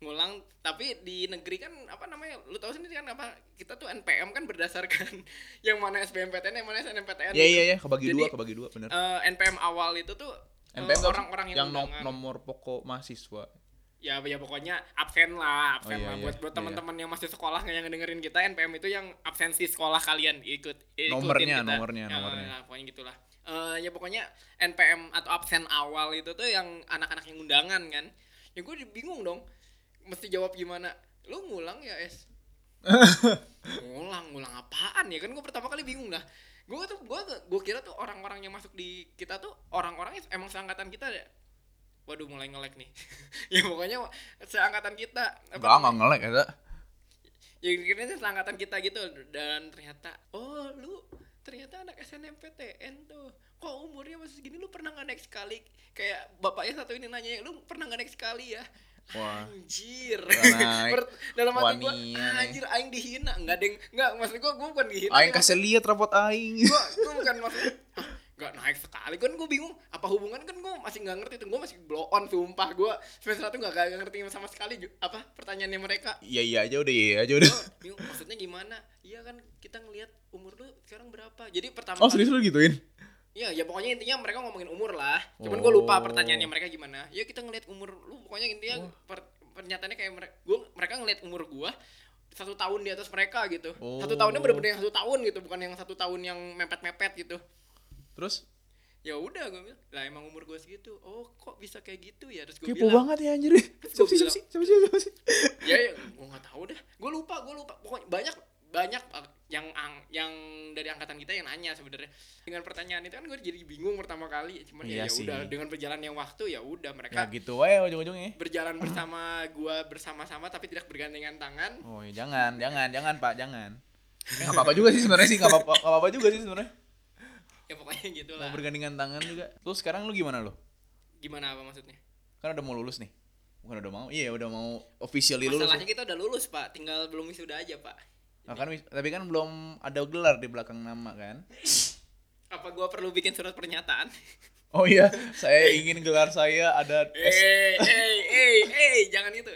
[SPEAKER 2] ngulang tapi di negeri kan apa namanya lu tahu sendiri kan apa kita tuh NPM kan berdasarkan [laughs] yang mana SBMPTN yang mana
[SPEAKER 1] Iya
[SPEAKER 2] SNMPTN gitu.
[SPEAKER 1] iya iya kebagi
[SPEAKER 2] Jadi,
[SPEAKER 1] dua kebagi dua bener.
[SPEAKER 2] Eh, NPM awal itu tuh eh,
[SPEAKER 1] NPM tuh
[SPEAKER 2] orang-orang
[SPEAKER 1] yang
[SPEAKER 2] yang,
[SPEAKER 1] nom-
[SPEAKER 2] undangan.
[SPEAKER 1] nomor pokok mahasiswa.
[SPEAKER 2] ya ya pokoknya absen lah absen
[SPEAKER 1] iya,
[SPEAKER 2] lah
[SPEAKER 1] iya,
[SPEAKER 2] buat buat
[SPEAKER 1] iya,
[SPEAKER 2] teman-teman yang masih sekolah yang dengerin kita NPM itu yang absensi sekolah kalian ikut ikutin
[SPEAKER 1] Nomornya,
[SPEAKER 2] kita.
[SPEAKER 1] nomornya,
[SPEAKER 2] Ya,
[SPEAKER 1] nomornya.
[SPEAKER 2] lah, pokoknya gitulah Eh, ya pokoknya NPM atau absen awal itu tuh yang anak-anak yang undangan kan ya gue bingung dong mesti jawab gimana lu ngulang ya es ngulang ngulang apaan ya kan gue pertama kali bingung dah gue tuh gue gue kira tuh orang-orang yang masuk di kita tuh orang-orang yang emang seangkatan kita ya waduh mulai ngelek nih [laughs] ya pokoknya seangkatan kita apa
[SPEAKER 1] Enggak
[SPEAKER 2] namanya?
[SPEAKER 1] enggak ngelek ya.
[SPEAKER 2] ya kira seangkatan kita gitu dan ternyata oh lu ternyata anak SNMPTN tuh kok umurnya masih segini lu pernah nggak naik sekali kayak bapaknya satu ini nanya lu pernah nggak naik sekali ya
[SPEAKER 1] Wah.
[SPEAKER 2] anjir
[SPEAKER 1] Naik.
[SPEAKER 2] [laughs] Per- dalam hati gue
[SPEAKER 1] Wania nih.
[SPEAKER 2] anjir aing dihina nggak deng nggak maksud gue gue bukan dihina
[SPEAKER 1] Aing
[SPEAKER 2] ya,
[SPEAKER 1] kasih lihat rapot aing.
[SPEAKER 2] gua gua bukan maksud "Ah, nggak naik sekali kan gua bingung apa hubungan kan gua masih nggak ngerti tuh gua masih blow on sumpah gua semester satu nggak nggak ngerti sama sekali ju- apa pertanyaannya mereka
[SPEAKER 1] Iya iya aja udah iya aja udah.
[SPEAKER 2] Gua bingung maksudnya gimana iya kan kita ngelihat umur lu sekarang berapa jadi pertama
[SPEAKER 1] [laughs] Oh
[SPEAKER 2] kali-
[SPEAKER 1] serius lu gituin?
[SPEAKER 2] Iya, ya pokoknya intinya mereka ngomongin umur lah. Cuman gue
[SPEAKER 1] Oh.
[SPEAKER 2] lupa pertanyaannya mereka gimana. Ya kita ngelihat umur lu pokoknya intinya per, pernyataannya kayak mereka gua, mereka ngelihat umur gua satu tahun di atas mereka gitu.
[SPEAKER 1] Oh.
[SPEAKER 2] Satu tahunnya bener-bener yang satu tahun gitu, bukan yang satu tahun yang mepet-mepet gitu.
[SPEAKER 1] Terus
[SPEAKER 2] Ya udah gue bilang, lah emang umur gue segitu. Oh, kok bisa kayak gitu ya? Terus gue
[SPEAKER 1] kepo
[SPEAKER 2] bilang,
[SPEAKER 1] banget ya anjir. Siapa sih siapa sih siapa sih siapa sih?
[SPEAKER 2] ya, ya gue nggak tahu dah. Gue lupa, gue lupa. Pokoknya banyak banyak eh, yang ang- yang dari angkatan kita yang nanya sebenarnya dengan pertanyaan itu kan gue jadi bingung pertama kali cuman
[SPEAKER 1] Iya
[SPEAKER 2] ya ya
[SPEAKER 1] sih.
[SPEAKER 2] udah dengan perjalanan yang waktu ya udah mereka
[SPEAKER 1] Ya gitu wae ujung-ujungnya.
[SPEAKER 2] berjalan bersama gua bersama-sama tapi tidak bergandengan tangan
[SPEAKER 1] Oh ya jangan, jangan, jangan Pak, jangan. Enggak apa-apa juga sih sebenarnya sih, enggak apa-apa, nggak apa-apa juga sih sebenarnya.
[SPEAKER 2] ya pokoknya gitulah
[SPEAKER 1] Mau bergandingan tangan juga. Terus sekarang lu gimana lu?
[SPEAKER 2] gimana apa maksudnya
[SPEAKER 1] Kan udah mau lulus nih. Bukan udah mau. Iya, udah mau officially lulus. ya.
[SPEAKER 2] masalahnya kita udah lulus pak tinggal belum wisuda aja pak
[SPEAKER 1] Nah, kan wis- tapi kan belum ada gelar di belakang nama kan?
[SPEAKER 2] apa gua perlu bikin surat pernyataan
[SPEAKER 1] Oh iya, saya ingin gelar saya ada S.
[SPEAKER 2] eh eh eh eh jangan itu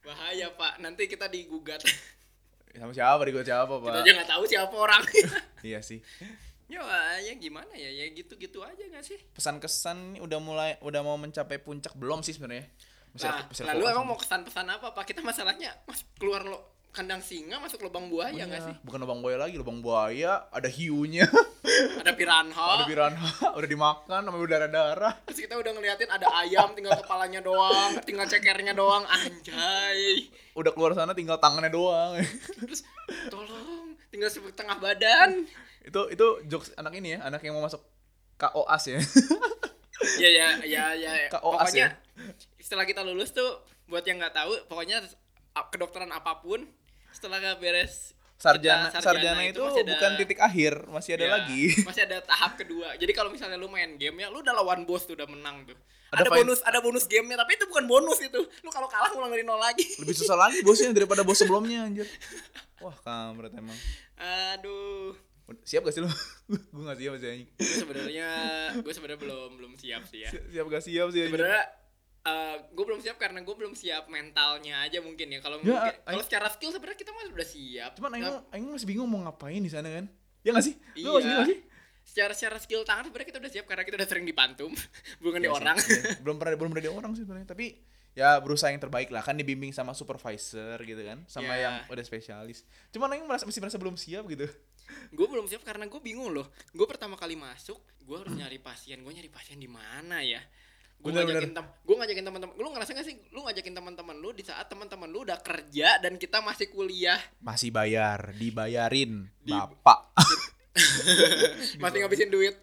[SPEAKER 2] bahaya pak nanti kita digugat
[SPEAKER 1] Sama siapa di siapa,
[SPEAKER 2] kita
[SPEAKER 1] Pak?
[SPEAKER 2] aja nggak tahu siapa orang [laughs]
[SPEAKER 1] Iya sih.
[SPEAKER 2] ya wah, ya gimana ya ya gitu-gitu aja nggak sih
[SPEAKER 1] Pesan kesan udah mulai udah mau mencapai puncak belum sih sebenarnya? Masih
[SPEAKER 2] nah
[SPEAKER 1] masih
[SPEAKER 2] lalu
[SPEAKER 1] fokus.
[SPEAKER 2] emang mau kesan-pesan apa pak kita masalahnya mas keluar lo kandang singa masuk lubang buaya nggak
[SPEAKER 1] Iya,
[SPEAKER 2] sih
[SPEAKER 1] Bukan lubang buaya lagi, lubang buaya ada hiunya. [laughs]
[SPEAKER 2] ada piranha
[SPEAKER 1] Ada piranha, [laughs] udah dimakan sama berdarah-darah.
[SPEAKER 2] Terus kita udah ngeliatin ada ayam tinggal kepalanya doang, tinggal cekernya doang, anjay.
[SPEAKER 1] udah keluar sana tinggal tangannya doang [laughs]
[SPEAKER 2] Terus tolong tinggal setengah badan.
[SPEAKER 1] itu itu jokes anak ini ya anak yang mau masuk KOAS ya [laughs]
[SPEAKER 2] Ya ya ya ya.
[SPEAKER 1] KOAS ya?
[SPEAKER 2] pokoknya setelah kita lulus tuh buat yang nggak tahu, pokoknya a- kedokteran apapun setelah nggak beres
[SPEAKER 1] sarjana
[SPEAKER 2] kita
[SPEAKER 1] sarjana itu,
[SPEAKER 2] masih ada-
[SPEAKER 1] bukan titik akhir masih ada
[SPEAKER 2] ya,
[SPEAKER 1] lagi [laughs]
[SPEAKER 2] Masih ada tahap kedua. Jadi kalau misalnya lu main game ya, lu udah lawan bos tuh udah menang tuh.
[SPEAKER 1] Ada
[SPEAKER 2] Ada,
[SPEAKER 1] fin-
[SPEAKER 2] bonus, ada bonus gamenya, tapi itu bukan bonus itu. Lu kalau kalah ulang dari nol lagi. [laughs]
[SPEAKER 1] lebih susah lagi bosnya daripada bos sebelumnya anjir wah kampret emang
[SPEAKER 2] Aduh.
[SPEAKER 1] Ud- siap gak sih lu [laughs] gue gak siap sih anjing
[SPEAKER 2] gue sebenarnya gue sebenarnya belum belum siap sih ya
[SPEAKER 1] Si- siap gak siap sih anjing.
[SPEAKER 2] sebenarnya gue belum siap karena gue belum siap mentalnya aja mungkin ya kalau
[SPEAKER 1] Ya,
[SPEAKER 2] mungkin-
[SPEAKER 1] I-
[SPEAKER 2] kalau secara skill sebenarnya kita mah sudah siap
[SPEAKER 1] cuman aing
[SPEAKER 2] Nah,
[SPEAKER 1] aing masih bingung mau ngapain di sana kan ya gak sih lu
[SPEAKER 2] Iya.
[SPEAKER 1] masih gak sih
[SPEAKER 2] secara secara skill tangan sebenarnya kita udah siap karena kita udah sering dipantum [laughs] bukan
[SPEAKER 1] Iya
[SPEAKER 2] di
[SPEAKER 1] sih,
[SPEAKER 2] orang
[SPEAKER 1] iya. [laughs] belum pernah belum pernah di orang sih sebenarnya tapi ya berusaha yang terbaik lah kan dibimbing sama supervisor gitu kan sama
[SPEAKER 2] Iya.
[SPEAKER 1] yang udah spesialis cuman aing merasa masih merasa belum siap gitu
[SPEAKER 2] gue belum siap karena gue bingung loh gue pertama kali masuk gue harus nyari pasien gue nyari pasien di mana ya
[SPEAKER 1] Hmm.
[SPEAKER 2] gue
[SPEAKER 1] Bener,
[SPEAKER 2] ngajakin tem gue ngajakin teman-teman lu ngerasa gak sih lu ngajakin teman-teman lu di saat teman-teman lu udah kerja dan kita masih kuliah
[SPEAKER 1] masih bayar dibayarin
[SPEAKER 2] Di-
[SPEAKER 1] bapak
[SPEAKER 2] masih ngabisin duit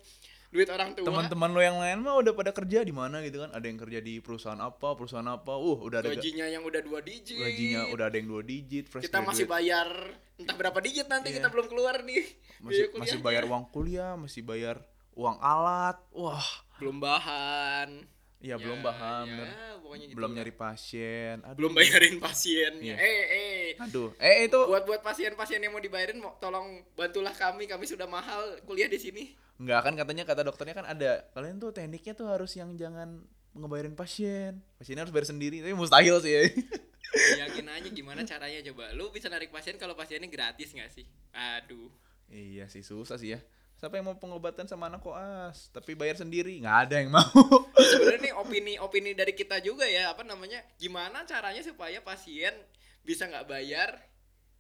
[SPEAKER 2] duit orang tua
[SPEAKER 1] Iya. teman-teman lo yang lain mah udah pada kerja di mana gitu kan ada yang kerja di perusahaan apa perusahaan apa uh udah ada ga-
[SPEAKER 2] gajinya yang udah dua digit
[SPEAKER 1] gajinya udah ada yang dua digit fresh
[SPEAKER 2] kita masih
[SPEAKER 1] graduate.
[SPEAKER 2] bayar entah berapa digit nanti
[SPEAKER 1] Iya.
[SPEAKER 2] kita belum keluar nih
[SPEAKER 1] masih,
[SPEAKER 2] biaya
[SPEAKER 1] masih
[SPEAKER 2] kuliahnya.
[SPEAKER 1] bayar uang kuliah masih bayar uang alat wah
[SPEAKER 2] belum bahan
[SPEAKER 1] ya, belum paham
[SPEAKER 2] ya,
[SPEAKER 1] bener.
[SPEAKER 2] pokoknya gitu
[SPEAKER 1] belum
[SPEAKER 2] lah.
[SPEAKER 1] nyari pasien aduh.
[SPEAKER 2] belum bayarin
[SPEAKER 1] Iya.
[SPEAKER 2] pasiennya eh eh
[SPEAKER 1] aduh eh itu
[SPEAKER 2] buat buat pasien-pasien yang mau dibayarin mau tolong bantulah kami kami sudah mahal kuliah di sini
[SPEAKER 1] Enggak kan katanya kata dokternya kan ada kalian tuh tekniknya tuh harus yang jangan ngebayarin pasien pasiennya harus bayar sendiri tapi mustahil sih ya. [laughs]
[SPEAKER 2] yakin aja gimana caranya coba lu bisa narik pasien kalau pasiennya gratis nggak sih aduh
[SPEAKER 1] iya sih susah sih ya siapa yang mau pengobatan sama anak koas tapi bayar sendiri nggak ada
[SPEAKER 2] [laughs]
[SPEAKER 1] yang mau
[SPEAKER 2] sebenarnya nih opini opini dari kita juga ya apa namanya gimana caranya supaya pasien bisa nggak bayar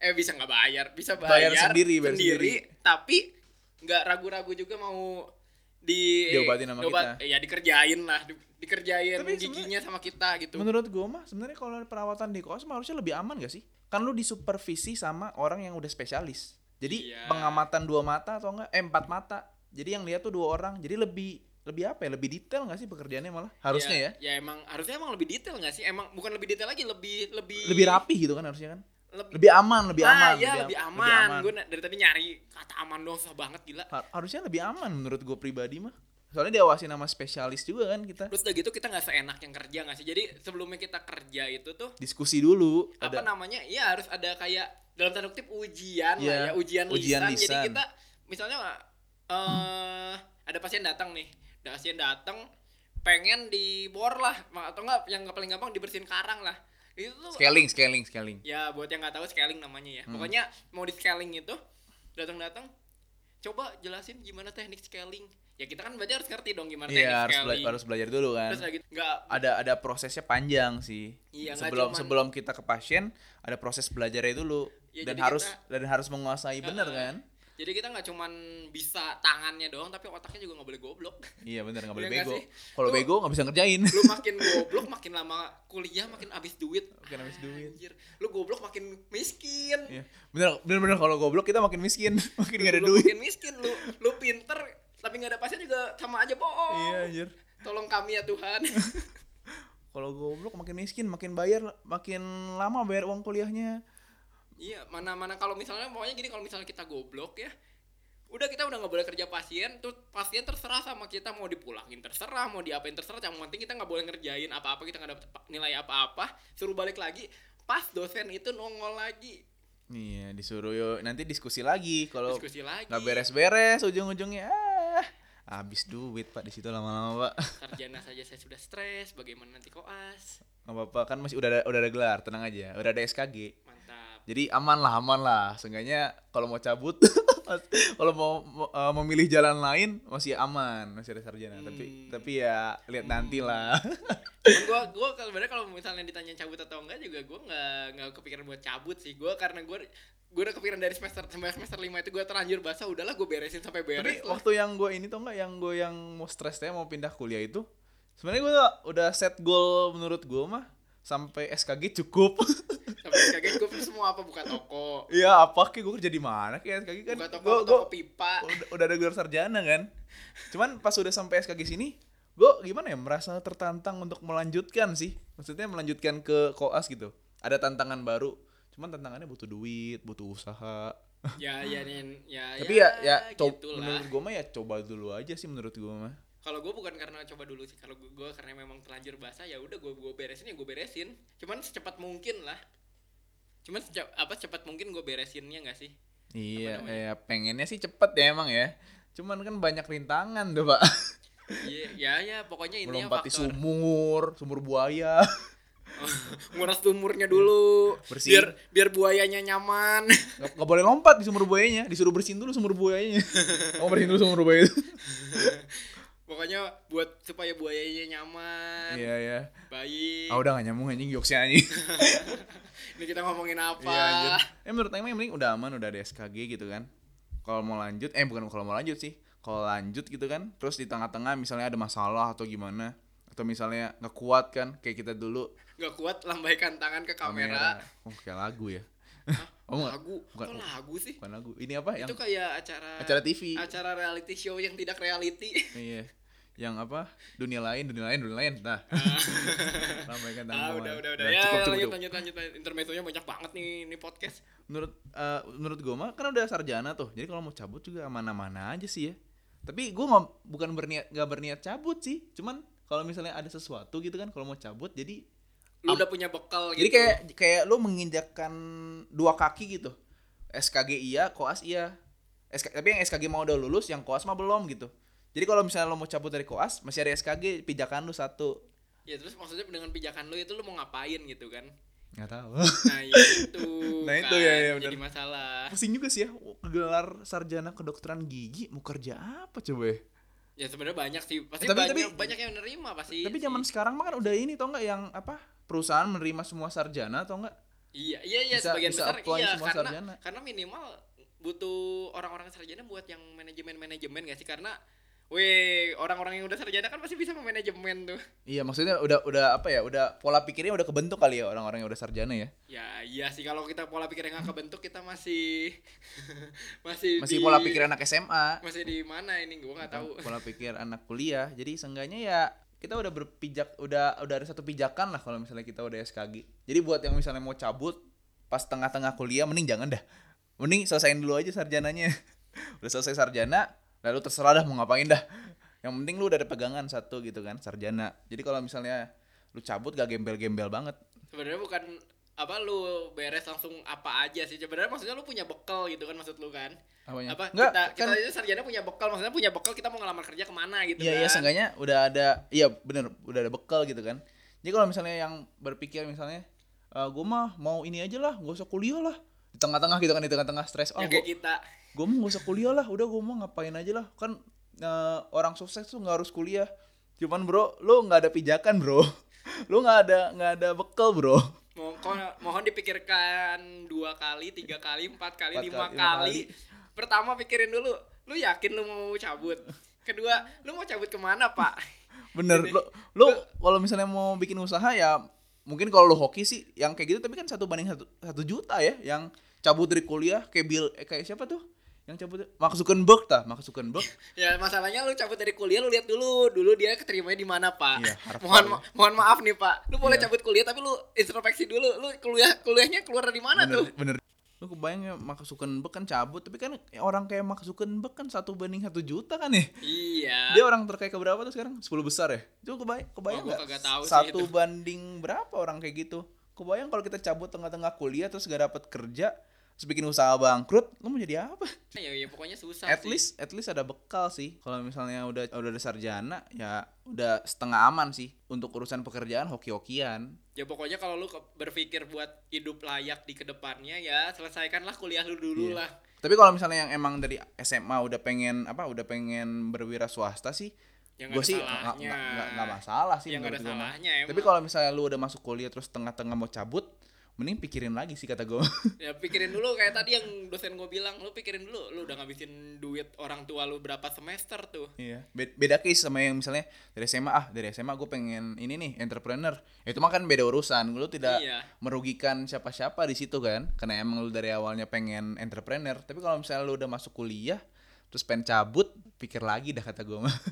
[SPEAKER 2] eh bisa nggak bayar bisa bayar,
[SPEAKER 1] Bayar sendiri, bayar
[SPEAKER 2] tapi nggak ragu-ragu juga mau di
[SPEAKER 1] Diobatin sama kita.
[SPEAKER 2] diobat- eh, ya dikerjain lah di- dikerjain
[SPEAKER 1] Tapi
[SPEAKER 2] giginya sama kita gitu
[SPEAKER 1] menurut gue mah sebenarnya kalau perawatan di koas mah harusnya lebih aman gak sih kan lu disupervisi sama orang yang udah spesialis jadi
[SPEAKER 2] Iya.
[SPEAKER 1] pengamatan dua mata atau enggak eh, empat mata jadi yang lihat tuh dua orang jadi lebih lebih apa ya lebih detail gak sih pekerjaannya malah harusnya ya,
[SPEAKER 2] ya emang harusnya emang lebih detail nggak sih emang bukan lebih detail lagi lebih lebih
[SPEAKER 1] lebih rapi gitu kan harusnya kan
[SPEAKER 2] lebih
[SPEAKER 1] lebih aman lebih aman
[SPEAKER 2] ah, ya,
[SPEAKER 1] am-
[SPEAKER 2] lebih aman, Gua na- dari tadi nyari kata aman doang susah banget gila
[SPEAKER 1] Har- harusnya lebih aman menurut gue pribadi mah soalnya diawasi nama spesialis juga kan kita
[SPEAKER 2] terus udah gitu kita nggak seenak yang kerja nggak sih jadi sebelumnya kita kerja itu tuh
[SPEAKER 1] diskusi dulu
[SPEAKER 2] apa
[SPEAKER 1] ada
[SPEAKER 2] namanya ya harus ada kayak dalam tanda kutip ujian
[SPEAKER 1] Iya,
[SPEAKER 2] lah ya ujian,
[SPEAKER 1] ujian
[SPEAKER 2] lisan. jadi
[SPEAKER 1] lisan.
[SPEAKER 2] kita misalnya eh ada pasien datang nih ada pasien datang pengen dibor lah atau enggak yang paling gampang dibersihin karang lah itu tuh
[SPEAKER 1] scaling scaling scaling
[SPEAKER 2] ya buat yang nggak tahu scaling namanya ya
[SPEAKER 1] Hmm.
[SPEAKER 2] pokoknya mau di scaling itu datang datang coba jelasin gimana teknik scaling ya kita kan belajar harus ngerti dong gimana teknik
[SPEAKER 1] iya harus bela-
[SPEAKER 2] scaling
[SPEAKER 1] harus belajar dulu kan
[SPEAKER 2] terus lagi nggak
[SPEAKER 1] ada ada prosesnya panjang sih.
[SPEAKER 2] Iya, nggak
[SPEAKER 1] sebelum
[SPEAKER 2] cuman-
[SPEAKER 1] sebelum kita ke pasien ada proses belajarnya dulu
[SPEAKER 2] Ya,
[SPEAKER 1] dan
[SPEAKER 2] jadi
[SPEAKER 1] harus
[SPEAKER 2] kita-
[SPEAKER 1] dan harus menguasai bener
[SPEAKER 2] Heeh.
[SPEAKER 1] kan?
[SPEAKER 2] jadi kita nggak cuman bisa tangannya doang tapi otaknya juga nggak boleh goblok
[SPEAKER 1] Iya bener nggak boleh
[SPEAKER 2] Iya nggak
[SPEAKER 1] bego.
[SPEAKER 2] sih?
[SPEAKER 1] Kalau
[SPEAKER 2] Lu-
[SPEAKER 1] bego nggak bisa ngerjain.
[SPEAKER 2] lu makin goblok makin lama kuliah makin habis duit
[SPEAKER 1] Makin habis duit.
[SPEAKER 2] Anjir, lu goblok makin miskin
[SPEAKER 1] Iya. Bener bener bener kalau goblok kita makin miskin, makin nggak ada
[SPEAKER 2] Lu
[SPEAKER 1] duit.
[SPEAKER 2] makin miskin lu lu pinter tapi nggak ada pasien juga sama aja bohong
[SPEAKER 1] Iya anjir.
[SPEAKER 2] tolong kami ya Tuhan [laughs]
[SPEAKER 1] Kalau goblok makin miskin, makin bayar, makin lama bayar uang kuliahnya.
[SPEAKER 2] iya mana mana kalau misalnya pokoknya gini kalau misalnya kita goblok ya udah kita udah nggak boleh kerja pasien terus pasien terserah sama kita mau dipulangin terserah mau diapain terserah yang penting kita nggak boleh ngerjain apa-apa kita nggak dapet pa- nilai apa-apa suruh balik lagi pas dosen itu nongol lagi
[SPEAKER 1] Iya, disuruh yo nanti diskusi lagi kalau
[SPEAKER 2] diskusi lagi
[SPEAKER 1] nggak beres-beres ujung-ujungnya ah, habis duit Pak di situ lama-lama, Pak.
[SPEAKER 2] sarjana saja saya sudah stres bagaimana nanti koas
[SPEAKER 1] Gak apa-apa kan masih udah ada, udah ada gelar, tenang aja. Udah ada SKG.
[SPEAKER 2] mantap
[SPEAKER 1] Jadi aman lah, aman lah. Seenggaknya kalau mau cabut, [laughs] kalau mau mau, eh, memilih jalan lain masih aman, masih ada sarjana. Tapi
[SPEAKER 2] Hmm.
[SPEAKER 1] tapi ya lihat nanti lah.
[SPEAKER 2] Cuman gua gua sebenarnya kalau misalnya ditanya cabut atau enggak juga gua nggak nggak kepikiran buat cabut sih gua karena gua gua udah kepikiran dari semester semester lima itu gua terlanjur basah udahlah gua beresin sampai
[SPEAKER 1] tapi
[SPEAKER 2] beres lah.
[SPEAKER 1] waktu yang gue ini tuh enggak yang gue yang mau stresnya mau pindah kuliah itu sebenarnya gue udah set goal menurut gue mah sampai SKG cukup. [laughs]
[SPEAKER 2] sampai kaget gua semua apa buka toko
[SPEAKER 1] Iya, apa kek gue kerja di mana kek SKG kan?
[SPEAKER 2] buka toko
[SPEAKER 1] Gua-
[SPEAKER 2] toko
[SPEAKER 1] gua-
[SPEAKER 2] pipa
[SPEAKER 1] udah, udah ada gelar sarjana kan cuman pas udah sampai SKG sini gue gimana ya merasa tertantang untuk melanjutkan sih maksudnya melanjutkan ke koas gitu ada tantangan baru cuman tantangannya butuh duit butuh usaha
[SPEAKER 2] ya ya nen- ya
[SPEAKER 1] tapi ya ya co-
[SPEAKER 2] gitulah
[SPEAKER 1] menurut gue mah ya coba dulu aja sih menurut gue mah
[SPEAKER 2] kalau gue bukan karena coba dulu sih kalau gue karena memang terlanjur basah ya udah gue gue beresin ya gue beresin cuman secepat mungkin lah cuman secepat, apa cepat mungkin gue beresinnya nggak sih
[SPEAKER 1] iya
[SPEAKER 2] namanya?
[SPEAKER 1] ya pengennya sih cepet ya emang ya cuman kan banyak rintangan tuh pak
[SPEAKER 2] iya ya ya pokoknya ini
[SPEAKER 1] melompati sumur sumur buaya
[SPEAKER 2] [laughs] nguras sumurnya dulu
[SPEAKER 1] Bersih.
[SPEAKER 2] biar biar buayanya nyaman
[SPEAKER 1] [laughs]
[SPEAKER 2] [laughs]
[SPEAKER 1] nggak nggak boleh lompat di sumur buayanya disuruh bersihin dulu sumur buayanya [laughs] mau bersihin dulu sumur buaya itu
[SPEAKER 2] pokoknya buat supaya buayanya
[SPEAKER 1] [laughs]
[SPEAKER 2] nyaman
[SPEAKER 1] iya iya
[SPEAKER 2] baik
[SPEAKER 1] Ah udah gak nyambung anjing jokesnya anjing.
[SPEAKER 2] ini kita ngomongin apa
[SPEAKER 1] Iya anjir. Eh menurut Aing yang penting udah aman, udah ada SKG gitu kan. Kalau mau lanjut, eh bukan kalau mau lanjut sih. Kalau lanjut gitu kan, terus di tengah-tengah misalnya ada masalah atau gimana atau misalnya nggak kuat kan kayak kita dulu
[SPEAKER 2] nggak kuat lambaikan tangan ke kamera,
[SPEAKER 1] Oh, kayak lagu ya.
[SPEAKER 2] Hah?
[SPEAKER 1] [laughs] Oh, enggak.
[SPEAKER 2] lagu
[SPEAKER 1] bukan-
[SPEAKER 2] kok lagu sih
[SPEAKER 1] Bukan lagu. Ini apa yang
[SPEAKER 2] itu kayak acara
[SPEAKER 1] acara TV?
[SPEAKER 2] acara reality show yang tidak reality
[SPEAKER 1] [laughs] Iya. Yang apa? Dunia lain, dunia lain, dunia lain. [laughs] Nah. Lambaikan tangan.
[SPEAKER 2] ah
[SPEAKER 1] bawah.
[SPEAKER 2] udah udah udah
[SPEAKER 1] Udah,
[SPEAKER 2] ya
[SPEAKER 1] Nah, cukup, cukup,
[SPEAKER 2] lanjut,
[SPEAKER 1] cukup.
[SPEAKER 2] lanjut lanjut lanjut intermezzonya banyak banget nih ini podcast
[SPEAKER 1] menurut eh, menurut gue mah kan udah sarjana tuh jadi kalau mau cabut juga mana-mana aja sih ya tapi gue nggak bukan berniat nggak berniat cabut sih cuman kalau misalnya ada sesuatu gitu kan kalau mau cabut jadi
[SPEAKER 2] lu
[SPEAKER 1] Am-
[SPEAKER 2] udah punya bekal gitu
[SPEAKER 1] jadi kayak kayak lo menginjakkan dua kaki gitu SKG iya koas iya SK, tapi yang SKG mau udah lulus yang koas mah belum gitu jadi kalau misalnya lo mau cabut dari koas masih ada SKG pijakan lu satu
[SPEAKER 2] ya terus maksudnya dengan pijakan lu itu lu mau ngapain gitu kan
[SPEAKER 1] nggak tahu
[SPEAKER 2] nah ya itu
[SPEAKER 1] Nah,
[SPEAKER 2] kan,
[SPEAKER 1] itu ya, ya,
[SPEAKER 2] yang jadi
[SPEAKER 1] bener.
[SPEAKER 2] masalah
[SPEAKER 1] [laughs] pusing juga sih ya gelar sarjana kedokteran gigi mau kerja apa coba ya
[SPEAKER 2] ya sebenarnya banyak sih
[SPEAKER 1] Eh,
[SPEAKER 2] pasti
[SPEAKER 1] tapi-
[SPEAKER 2] banyak
[SPEAKER 1] tapi-
[SPEAKER 2] banyak yang nerima pasti
[SPEAKER 1] tapi
[SPEAKER 2] Iya sih.
[SPEAKER 1] zaman sekarang mah kan udah ini tau nggak yang apa perusahaan menerima semua sarjana atau enggak
[SPEAKER 2] iya iya iya
[SPEAKER 1] bisa-
[SPEAKER 2] sebagian
[SPEAKER 1] bisa
[SPEAKER 2] besar
[SPEAKER 1] apply
[SPEAKER 2] iya
[SPEAKER 1] semua
[SPEAKER 2] karena
[SPEAKER 1] sarjana.
[SPEAKER 2] karena minimal butuh orang-orang sarjana buat yang manajemen manajemen gak sih karena Weh, orang-orang yang udah sarjana kan pasti bisa memanajemen tuh.
[SPEAKER 1] iya maksudnya udah udah apa ya udah pola pikirnya udah kebentuk kali ya orang-orang yang udah sarjana ya
[SPEAKER 2] Ya, iya sih kalau kita pola pikir yang gak kebentuk kita masih [laughs] masih
[SPEAKER 1] masih
[SPEAKER 2] di-
[SPEAKER 1] pola pikir anak SMA
[SPEAKER 2] masih di mana ini gua nggak tahu.
[SPEAKER 1] pola pikir anak kuliah jadi seenggaknya ya kita udah berpijak udah udah ada satu pijakan lah kalau misalnya kita udah SKG jadi buat yang misalnya mau cabut pas tengah-tengah kuliah mending jangan dah mending selesaiin dulu aja sarjananya [laughs] udah selesai sarjana lalu terserah dah mau ngapain dah yang penting lu udah ada pegangan satu gitu kan sarjana jadi kalau misalnya lu cabut gak gembel-gembel banget
[SPEAKER 2] Sebenarnya bukan apa lu beres langsung apa aja sih. Sebenarnya maksudnya lu punya bekal gitu kan maksud lu kan.
[SPEAKER 1] apanya
[SPEAKER 2] Apa
[SPEAKER 1] Nggak,
[SPEAKER 2] kita
[SPEAKER 1] kan-
[SPEAKER 2] kita aja sarjana punya bekal, maksudnya punya bekal kita mau ngelamar kerja kemana gitu
[SPEAKER 1] Iya
[SPEAKER 2] kan.
[SPEAKER 1] iya seenggaknya udah ada iya bener udah ada bekal gitu kan. Jadi kalau misalnya yang berpikir misalnya eh gue mah mau ini aja lah, gak usah kuliah lah. Di tengah-tengah gitu kan di tengah-tengah stres. Oh,
[SPEAKER 2] Ya kayak
[SPEAKER 1] gue
[SPEAKER 2] kita.
[SPEAKER 1] mah gak usah kuliah lah, udah gue mau ngapain aja lah. Kan eh, orang sukses tuh nggak harus kuliah. Cuman bro, lu nggak ada pijakan bro. [laughs] lu nggak ada nggak ada bekal bro.
[SPEAKER 2] Mohon, mohon dipikirkan dua kali, tiga kali, empat kali,
[SPEAKER 1] Empat
[SPEAKER 2] lima
[SPEAKER 1] kali, lima
[SPEAKER 2] kali. Pertama pikirin dulu, lu yakin lu mau cabut? Kedua, lu mau cabut kemana pak?
[SPEAKER 1] Bener lu lu kalau misalnya mau bikin usaha ya mungkin kalau lu hoki sih yang kayak gitu tapi kan satu banding satu, satu juta ya yang cabut dari kuliah kayak Bill eh, kayak siapa tuh yang cabut Mark Zuckerberg tah Mark Zuckerberg
[SPEAKER 2] [laughs] Ya masalahnya lu cabut dari kuliah lu lihat dulu dulu dia keterimanya di mana pak.
[SPEAKER 1] Iya, Harvard.
[SPEAKER 2] mohon ma- mohon maaf nih pak. Lu boleh
[SPEAKER 1] Iya.
[SPEAKER 2] cabut kuliah tapi lu introspeksi dulu lu kuliah kuliahnya keluar dari mana tuh?
[SPEAKER 1] bener, bener lu kebayang ya Mark Zuckerberg kan cabut tapi kan orang kayak Mark Zuckerberg kan satu banding satu juta kan ya
[SPEAKER 2] Iya.
[SPEAKER 1] dia orang terkaya keberapa tuh sekarang 10 besar ya itu kebayang kebayang
[SPEAKER 2] Oh, gua
[SPEAKER 1] nggak
[SPEAKER 2] kagak tahu sih
[SPEAKER 1] satu
[SPEAKER 2] itu.
[SPEAKER 1] banding berapa orang kayak gitu kebayang kalau kita cabut tengah-tengah kuliah terus gak dapat kerja terus bikin usaha bangkrut lu mau jadi apa
[SPEAKER 2] Ya, ya pokoknya susah.
[SPEAKER 1] at
[SPEAKER 2] sih.
[SPEAKER 1] least at least ada bekal sih kalau misalnya udah udah ada sarjana ya udah setengah aman sih untuk urusan pekerjaan hoki-hokian
[SPEAKER 2] Ya pokoknya kalau lu ke- berpikir buat hidup layak di kedepannya ya selesaikanlah kuliah lu dulu
[SPEAKER 1] Iya.
[SPEAKER 2] lah.
[SPEAKER 1] tapi kalau misalnya yang emang dari SMA udah pengen apa udah pengen berwira swasta sih
[SPEAKER 2] Ya,
[SPEAKER 1] gue
[SPEAKER 2] nggak ada
[SPEAKER 1] sih nggak
[SPEAKER 2] salahnya.
[SPEAKER 1] nggak- nggak- nggak masalah sih
[SPEAKER 2] Ya, nggak
[SPEAKER 1] menurut gua
[SPEAKER 2] ada
[SPEAKER 1] mah.
[SPEAKER 2] salahnya emang.
[SPEAKER 1] tapi kalau misalnya lu udah masuk kuliah terus tengah-tengah mau cabut mending pikirin lagi sih kata
[SPEAKER 2] [laughs]
[SPEAKER 1] gue
[SPEAKER 2] Ya pikirin dulu kayak tadi yang dosen gue bilang lu pikirin dulu lu udah ngabisin duit orang tua lu berapa semester tuh.
[SPEAKER 1] Iya. Be- Beda case sama yang misalnya dari SMA ah dari SMA gue pengen ini nih entrepreneur. Ya, itu mah kan beda urusan. Lu tidak
[SPEAKER 2] Iya.
[SPEAKER 1] merugikan siapa-siapa di situ kan. Karena emang lu dari awalnya pengen entrepreneur. Tapi kalau misalnya lu udah masuk kuliah terus pengen cabut, pikir lagi dah kata gue mah. [laughs]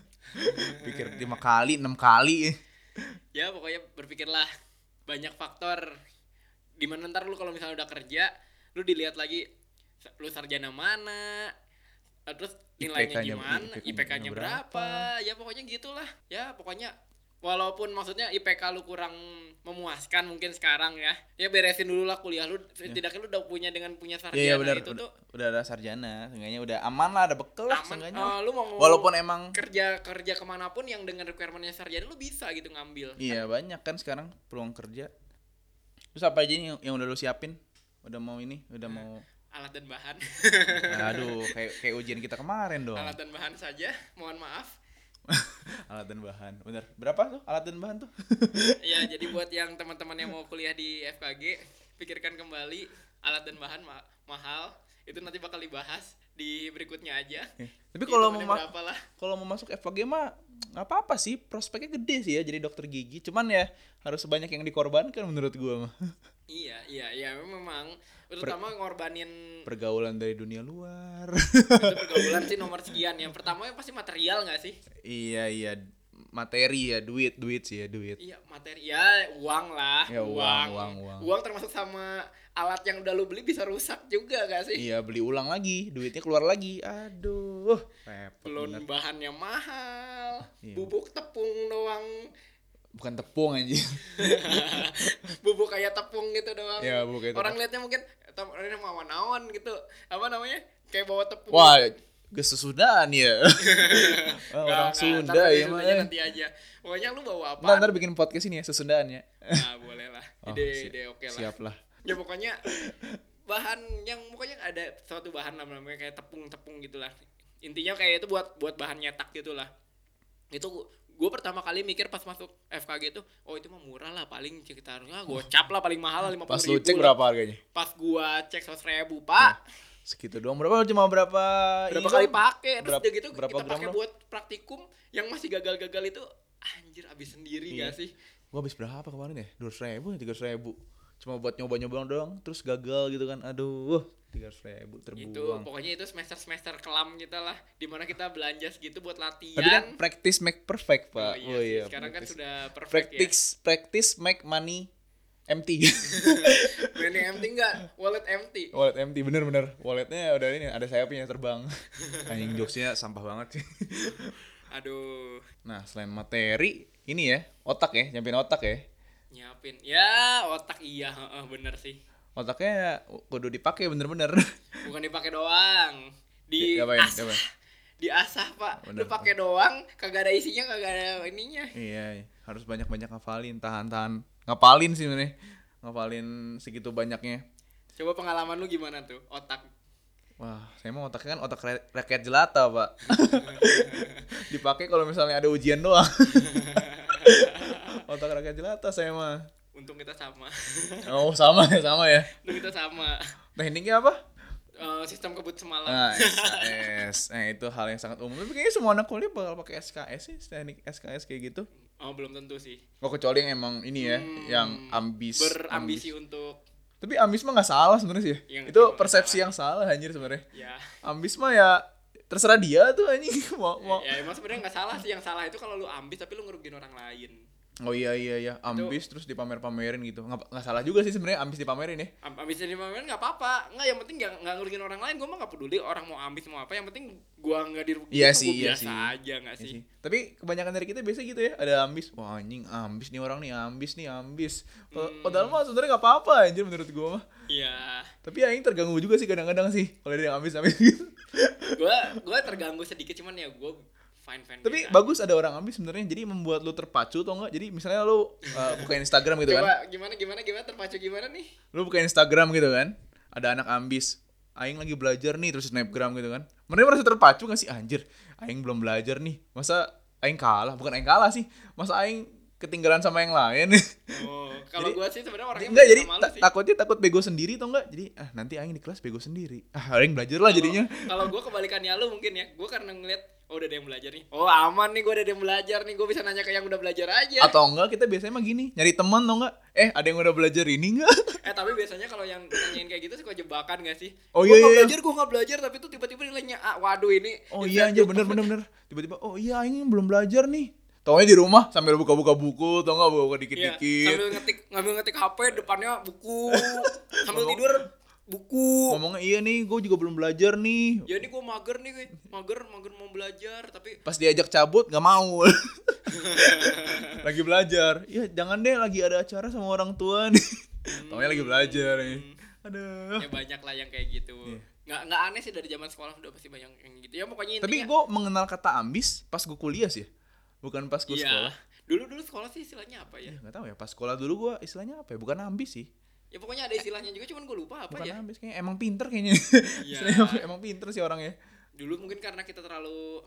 [SPEAKER 1] pikir lima kali, enam kali.
[SPEAKER 2] Ya pokoknya berpikirlah banyak faktor dimana ntar lu kalau misalnya udah kerja lu dilihat lagi sa- lu sarjana mana eh, terus nilainya
[SPEAKER 1] IPK-nya
[SPEAKER 2] gimana
[SPEAKER 1] IPK-nya
[SPEAKER 2] IPK-nya berapa. ya pokoknya gitulah ya pokoknya walaupun maksudnya IPK lu kurang memuaskan mungkin sekarang ya ya beresin dulu lah kuliah lu setidaknya lu udah punya dengan punya sarjana
[SPEAKER 1] Iya, iya benar.
[SPEAKER 2] itu
[SPEAKER 1] Udah,
[SPEAKER 2] tuh
[SPEAKER 1] udah ada sarjana, seenggaknya udah aman lah, ada bekal lah
[SPEAKER 2] aman
[SPEAKER 1] seenggaknya.
[SPEAKER 2] Eh, lu mau
[SPEAKER 1] Walaupun emang
[SPEAKER 2] kerja kerja kemanapun yang dengan requirementnya sarjana lu bisa gitu ngambil
[SPEAKER 1] Iya banyak kan sekarang peluang kerja. Terus apa aja nih yang, yang udah lu siapin? Udah mau ini, udah
[SPEAKER 2] [laughs]
[SPEAKER 1] mau.
[SPEAKER 2] alat dan bahan
[SPEAKER 1] Aduh, kayak kayak ujian kita kemarin dong.
[SPEAKER 2] alat dan bahan saja [laughs] mohon
[SPEAKER 1] [laughs]
[SPEAKER 2] maaf
[SPEAKER 1] Alat dan bahan. Bener. Berapa tuh alat dan bahan tuh?
[SPEAKER 2] ya jadi buat yang teman-teman yang mau kuliah di FKG pikirkan kembali alat dan bahan ma- mahal itu nanti bakal dibahas di berikutnya aja
[SPEAKER 1] Eh, Tapi kalau mau
[SPEAKER 2] Hitungannya
[SPEAKER 1] ma-
[SPEAKER 2] berapa lah
[SPEAKER 1] kalau mau masuk FKG mah nggak apa-apa sih, prospeknya gede sih ya jadi dokter gigi. Cuman ya harus sebanyak yang dikorbankan menurut gua mah. [laughs]
[SPEAKER 2] iya iya iya memang terutama ngorbanin
[SPEAKER 1] Pergaulan dari dunia luar.
[SPEAKER 2] itu pergaulan sih nomor sekian yang pertama ya pasti material nggak sih
[SPEAKER 1] [laughs] iya iya materi ya, duit, duit sih ya, duit.
[SPEAKER 2] Iya materi ya uang lah
[SPEAKER 1] Ya, uang, uang, uang.
[SPEAKER 2] termasuk sama alat yang udah lu beli bisa rusak juga gak sih
[SPEAKER 1] Iya, beli ulang lagi, duitnya keluar lagi. Aduh, repot
[SPEAKER 2] Belum
[SPEAKER 1] bener.
[SPEAKER 2] bahannya mahal
[SPEAKER 1] Iya.
[SPEAKER 2] bubuk tepung doang
[SPEAKER 1] Bukan tepung anjir.
[SPEAKER 2] bubuk kayak tepung gitu doang
[SPEAKER 1] Iya, bubuk kayak
[SPEAKER 2] orang liatnya mungkin tem- ini mau awan-awan gitu apa namanya kayak bawa tepung
[SPEAKER 1] Wah, Kesusunan
[SPEAKER 2] [laughs]
[SPEAKER 1] ya. Wah,
[SPEAKER 2] Nggak,
[SPEAKER 1] orang
[SPEAKER 2] nggak,
[SPEAKER 1] Sunda
[SPEAKER 2] ntar
[SPEAKER 1] ya
[SPEAKER 2] Sundanya
[SPEAKER 1] mah.
[SPEAKER 2] Nanti aja. Pokoknya lu bawa apa?
[SPEAKER 1] Ntar, ntar bikin podcast ini ya Susundan ya.
[SPEAKER 2] Nah, boleh lah.
[SPEAKER 1] [laughs] Oh,
[SPEAKER 2] Ide
[SPEAKER 1] si-
[SPEAKER 2] ide oke lah.
[SPEAKER 1] Siap lah.
[SPEAKER 2] Ya pokoknya bahan yang pokoknya ada suatu bahan lah namanya kayak tepung-tepung gitulah. Intinya kayak itu buat buat bahan nyetak gitulah. Itu gue pertama kali mikir pas masuk FKG itu, oh itu mah murah lah paling sekitarnya gocap lah paling mahal lah 50
[SPEAKER 1] Oh. Pas lu cek berapa Oh. harganya?
[SPEAKER 2] Pas gua cek 100 ribu pak,
[SPEAKER 1] Segitu doang. Berapa cuma berapa?
[SPEAKER 2] berapa
[SPEAKER 1] ini
[SPEAKER 2] kali
[SPEAKER 1] doang?
[SPEAKER 2] pakai terus
[SPEAKER 1] berapa-
[SPEAKER 2] udah gitu
[SPEAKER 1] Iya berapa
[SPEAKER 2] kita
[SPEAKER 1] gram
[SPEAKER 2] pakai
[SPEAKER 1] lo?
[SPEAKER 2] buat praktikum yang masih gagal-gagal itu anjir abis sendiri
[SPEAKER 1] Iya.
[SPEAKER 2] gak sih
[SPEAKER 1] Gua habis berapa kemarin ya? 200 ribu, 300 ribu. Cuma buat nyoba-nyoba doang, terus gagal gitu kan. Aduh, 300 ribu
[SPEAKER 2] itu
[SPEAKER 1] terbuang.
[SPEAKER 2] Gitu. pokoknya itu semester semester kelam kita lah dimana kita belanja segitu buat latihan
[SPEAKER 1] Tapi kan practice make perfect,
[SPEAKER 2] Oh
[SPEAKER 1] Pak.
[SPEAKER 2] iya
[SPEAKER 1] Oh
[SPEAKER 2] sih,
[SPEAKER 1] iya.
[SPEAKER 2] sekarang kan
[SPEAKER 1] practice.
[SPEAKER 2] sudah perfect
[SPEAKER 1] practice practice make money empty. [laughs]
[SPEAKER 2] ya branding empty enggak wallet empty
[SPEAKER 1] Wallet empty bener-bener. Walletnya udah ini ada sayapnya
[SPEAKER 2] [laughs]
[SPEAKER 1] terbang. Anjing jokesnya sampah banget sih.
[SPEAKER 2] aduh
[SPEAKER 1] Nah, selain materi, ini ya, otak ya, nyampein otak ya.
[SPEAKER 2] nyiapin ya otak iya heeh, bener sih
[SPEAKER 1] Otaknya kudu dipakai bener-bener.
[SPEAKER 2] bukan dipakai doang
[SPEAKER 1] [laughs]
[SPEAKER 2] di
[SPEAKER 1] Ya, Diapain,
[SPEAKER 2] asah
[SPEAKER 1] diapain?
[SPEAKER 2] diasah pak
[SPEAKER 1] Bener.
[SPEAKER 2] lu pakai doang kagak ada isinya kagak ada ininya
[SPEAKER 1] Iya, iya. harus banyak-banyak ngafalin, tahan-tahan. Ngapalin sih ini. Ngapalin segitu banyaknya.
[SPEAKER 2] coba pengalaman lu gimana tuh otak
[SPEAKER 1] Wah, saya mau otaknya kan otak ra- rakyat jelata, Pak. [laughs] dipakai kalau misalnya ada ujian doang. [laughs] otak rakyat jelata saya mah.
[SPEAKER 2] untung kita sama [laughs]
[SPEAKER 1] Oh, sama ya, sama ya.
[SPEAKER 2] untung kita sama
[SPEAKER 1] Tekniknya apa?
[SPEAKER 2] Eh, sistem kebut semalam
[SPEAKER 1] Nah, SKS. Nah, itu hal yang sangat umum. Tapi kayaknya semua anak kuliah bakal pakai SKS sih, teknik SKS kayak gitu.
[SPEAKER 2] oh belum tentu sih
[SPEAKER 1] Oh, kecuali yang emang ini ya,
[SPEAKER 2] Hmm,
[SPEAKER 1] yang ambis.
[SPEAKER 2] berambisi
[SPEAKER 1] ambis.
[SPEAKER 2] untuk
[SPEAKER 1] Tapi ambis mah nggak salah sebenarnya sih. ya.
[SPEAKER 2] Yang-
[SPEAKER 1] itu
[SPEAKER 2] yang nggak
[SPEAKER 1] persepsi
[SPEAKER 2] salah.
[SPEAKER 1] yang salah anjir sebenarnya.
[SPEAKER 2] ya
[SPEAKER 1] Ambis mah ya terserah dia tuh anjing [laughs] mau mau.
[SPEAKER 2] ya emang sebenarnya nggak salah sih yang salah itu kalau lu ambis tapi lu ngerugiin orang lain
[SPEAKER 1] Oh iya iya iya, ambis terus dipamer-pamerin gitu. Nggak, nggak salah juga sih sebenarnya ambis dipamerin ya.
[SPEAKER 2] Am- ambis jadi pemain nggak apa-apa nggak yang penting nggak nggak ngerugiin orang lain gue mah nggak peduli orang mau ambis mau apa yang penting gua nggak dirugiin
[SPEAKER 1] Iya
[SPEAKER 2] mah
[SPEAKER 1] sih,
[SPEAKER 2] gua
[SPEAKER 1] iya
[SPEAKER 2] biasa
[SPEAKER 1] sih.
[SPEAKER 2] aja nggak
[SPEAKER 1] Iya
[SPEAKER 2] sih
[SPEAKER 1] sih. Tapi kebanyakan dari kita biasa gitu ya, ada ambis. Wah anjing ambis nih orang nih, ambis nih ambis.
[SPEAKER 2] Hmm.
[SPEAKER 1] Padahal mah sebenarnya nggak apa-apa anjir menurut gua mah.
[SPEAKER 2] iya
[SPEAKER 1] Tapi ya ini terganggu juga sih kadang-kadang sih kalau ada yang ambis ambis [laughs] gitu.
[SPEAKER 2] gua gua terganggu sedikit cuman ya gua fine fine
[SPEAKER 1] Tapi
[SPEAKER 2] biasa.
[SPEAKER 1] bagus ada orang ambis sebenarnya jadi membuat lu terpacu atau enggak. Jadi misalnya lu uh, buka Instagram gitu kan.
[SPEAKER 2] coba gimana gimana gimana terpacu gimana
[SPEAKER 1] [laughs]
[SPEAKER 2] nih
[SPEAKER 1] Lu buka Instagram gitu kan. Ada anak ambis. Aing lagi belajar nih terus snapgram gitu kan. Mereka merasa terpacu gak sih anjir. Aing belum belajar nih. Masa aing kalah? Bukan aing kalah sih. Masa aing ketinggalan sama yang lain. [laughs]
[SPEAKER 2] oh kalau
[SPEAKER 1] Jadi-
[SPEAKER 2] gua sih sebenarnya orangnya
[SPEAKER 1] enggak
[SPEAKER 2] mirip
[SPEAKER 1] jadi
[SPEAKER 2] sama lu
[SPEAKER 1] ta-
[SPEAKER 2] sih.
[SPEAKER 1] takutnya takut bego sendiri atau enggak. Jadi ah nanti aing di kelas bego sendiri. Ah aing belajar lah jadinya.
[SPEAKER 2] Kalau- kalau gue kebalikannya lu mungkin ya gue karena ngeliat oh udah ada yang belajar nih oh aman nih gue ada yang belajar nih gue bisa nanya ke yang udah belajar aja
[SPEAKER 1] Atau enggak kita biasanya mah gini, nyari teman atau enggak? Eh, ada yang udah belajar ini enggak?
[SPEAKER 2] eh tapi biasanya kalau yang nanyain kayak gitu suka jebakan gak sih
[SPEAKER 1] Oh, iya,
[SPEAKER 2] Gua nggak
[SPEAKER 1] iya, iya.
[SPEAKER 2] belajar gue nggak belajar tapi tuh tiba-tiba nilainya A waduh ini
[SPEAKER 1] [laughs] Oh
[SPEAKER 2] ini
[SPEAKER 1] iya
[SPEAKER 2] saya
[SPEAKER 1] anjir
[SPEAKER 2] tuh-
[SPEAKER 1] bener bener bener Tiba-tiba oh iya aing belum belajar nih Taunya di rumah sambil buka-buka buku Tau gak buka
[SPEAKER 2] Iya,
[SPEAKER 1] dikit-dikit
[SPEAKER 2] sambil ngetik ngambil ngetik HP depannya
[SPEAKER 1] [laughs]
[SPEAKER 2] buku sambil
[SPEAKER 1] Ngomong-
[SPEAKER 2] tidur buku
[SPEAKER 1] Ngomongnya iya nih gue juga belum belajar nih
[SPEAKER 2] ya ini gue mager nih gue mager mager mau belajar tapi
[SPEAKER 1] Pas diajak cabut gak mau
[SPEAKER 2] [laughs]
[SPEAKER 1] Lagi belajar Iya jangan deh lagi ada acara sama orang tua nih Taunya lagi belajar nih Aduh
[SPEAKER 2] Hmm. ya banyak lah yang kayak gitu
[SPEAKER 1] Iya.
[SPEAKER 2] nggak nggak aneh sih dari zaman sekolah udah pasti banyak yang gitu ya pokoknya
[SPEAKER 1] Tapi
[SPEAKER 2] intinya
[SPEAKER 1] gue mengenal kata ambis pas gue kuliah sih Bukan pas gue
[SPEAKER 2] Iya.
[SPEAKER 1] sekolah
[SPEAKER 2] Dulu dulu sekolah sih istilahnya apa ya?
[SPEAKER 1] Ya, Gak tau ya pas sekolah dulu gue istilahnya apa ya Bukan ambis sih
[SPEAKER 2] Ya pokoknya ada istilahnya juga cuman gue lupa apa
[SPEAKER 1] Bukan
[SPEAKER 2] ya.
[SPEAKER 1] ambis kayaknya emang pinter kayaknya
[SPEAKER 2] Iya.
[SPEAKER 1] [laughs] Istilahnya emang, emang pinter sih orangnya
[SPEAKER 2] Dulu mungkin karena kita terlalu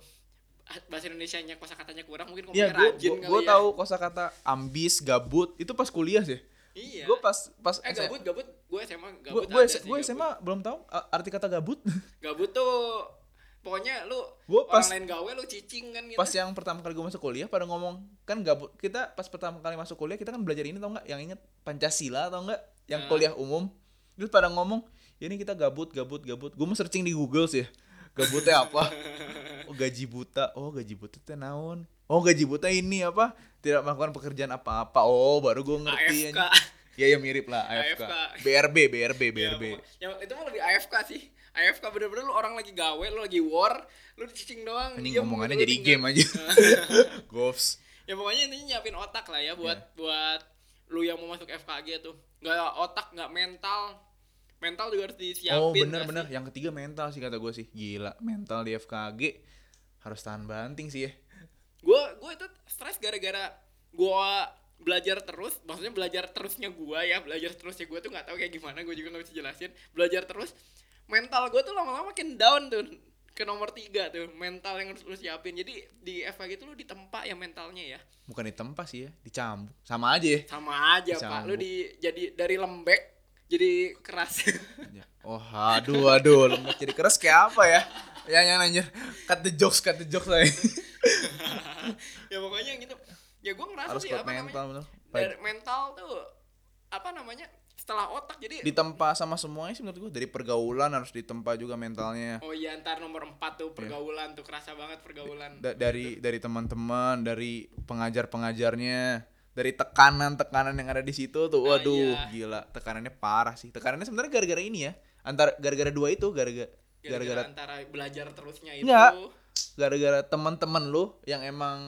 [SPEAKER 2] ah, bahasa Indonesianya kosakatanya kurang mungkin
[SPEAKER 1] Iya,
[SPEAKER 2] ngomongnya
[SPEAKER 1] gue
[SPEAKER 2] rajin kali
[SPEAKER 1] gue
[SPEAKER 2] ya.
[SPEAKER 1] tahu kosakata ambis, gabut itu pas kuliah sih.
[SPEAKER 2] Iya.
[SPEAKER 1] Gue pas pas
[SPEAKER 2] eh gabut gabut gue SMA
[SPEAKER 1] gue
[SPEAKER 2] gabut
[SPEAKER 1] gue
[SPEAKER 2] ada sih,
[SPEAKER 1] gue
[SPEAKER 2] gabut.
[SPEAKER 1] SMA belum tahu uh, arti kata gabut.
[SPEAKER 2] Gabut tuh pokoknya lu
[SPEAKER 1] Gua
[SPEAKER 2] orang
[SPEAKER 1] pas-
[SPEAKER 2] lain gawe lu cicing kan gitu.
[SPEAKER 1] pas yang pertama kali gue masuk kuliah pada ngomong kan gabut kita pas pertama kali masuk kuliah kita kan belajar ini tau nggak yang inget pancasila atau enggak yang
[SPEAKER 2] Nah.
[SPEAKER 1] kuliah umum terus pada ngomong ya ini kita gabut gabut gabut gue mau searching di Google sih gabutnya
[SPEAKER 2] [laughs]
[SPEAKER 1] apa oh gaji buta oh gaji buta teh naon oh gaji buta ini apa tidak melakukan pekerjaan apa-apa oh baru gue ngerti
[SPEAKER 2] AFK.
[SPEAKER 1] anjing. Ya ya mirip lah AFK.
[SPEAKER 2] AFK.
[SPEAKER 1] BRB, BRB,
[SPEAKER 2] Ya,
[SPEAKER 1] BRB.
[SPEAKER 2] pokoknya- ya, itu mah lebih AFK sih. AFK bener-bener lu orang lagi gawe, lu lagi war, lu cicing doang.
[SPEAKER 1] Ini
[SPEAKER 2] diem,
[SPEAKER 1] ngomongannya
[SPEAKER 2] lu
[SPEAKER 1] jadi
[SPEAKER 2] tinggal-
[SPEAKER 1] game
[SPEAKER 2] [laughs]
[SPEAKER 1] aja. Gops.
[SPEAKER 2] ya pokoknya intinya nyiapin otak lah
[SPEAKER 1] Iya.
[SPEAKER 2] ya buat buat lu yang mau masuk FKG tuh nggak otak nggak mental mental juga harus disiapin
[SPEAKER 1] oh
[SPEAKER 2] nggak
[SPEAKER 1] bener bener
[SPEAKER 2] sih?
[SPEAKER 1] yang ketiga mental sih kata gue sih gila mental di FKG harus tahan banting sih ya
[SPEAKER 2] gua gua itu stres gara-gara gua belajar terus maksudnya belajar terusnya gua ya belajar terusnya gua tuh nggak tahu kayak gimana gua juga nggak bisa jelasin belajar terus mental gua tuh lama-lama makin down tuh ke nomor tiga tuh mental yang harus lu siapin jadi di FKG tuh lu ditempa ya mentalnya ya
[SPEAKER 1] bukan ditempa sih ya dicambuk sama aja ya
[SPEAKER 2] sama aja pak
[SPEAKER 1] Dicambuk.
[SPEAKER 2] lu di jadi dari lembek jadi keras [laughs]
[SPEAKER 1] Aja. oh aduh aduh lembek jadi keras kayak apa ya ya ya anjir cut the jokes cut the jokes lah ya.
[SPEAKER 2] ya pokoknya gitu ya gua ngerasa
[SPEAKER 1] harus
[SPEAKER 2] sih
[SPEAKER 1] kuat
[SPEAKER 2] apa namanya
[SPEAKER 1] mental bener
[SPEAKER 2] dari mental tuh apa namanya setelah otak jadi
[SPEAKER 1] ditempa sama semuanya sih menurut gue dari pergaulan harus ditempa juga mentalnya
[SPEAKER 2] Oh iya ntar nomor 4 tuh pergaulan tuh kerasa banget pergaulan.
[SPEAKER 1] Da- dari dari teman-teman dari pengajar-pengajarnya dari tekanan-tekanan yang ada di situ tuh
[SPEAKER 2] Nah,
[SPEAKER 1] waduh
[SPEAKER 2] iya.
[SPEAKER 1] gila tekanannya parah sih tekanannya sebenarnya gara-gara ini ya antara gara-gara dua itu gara-gara
[SPEAKER 2] Gara-gara
[SPEAKER 1] gara-gara
[SPEAKER 2] antara belajar terusnya itu.
[SPEAKER 1] Enggak. gara-gara teman-teman lu yang emang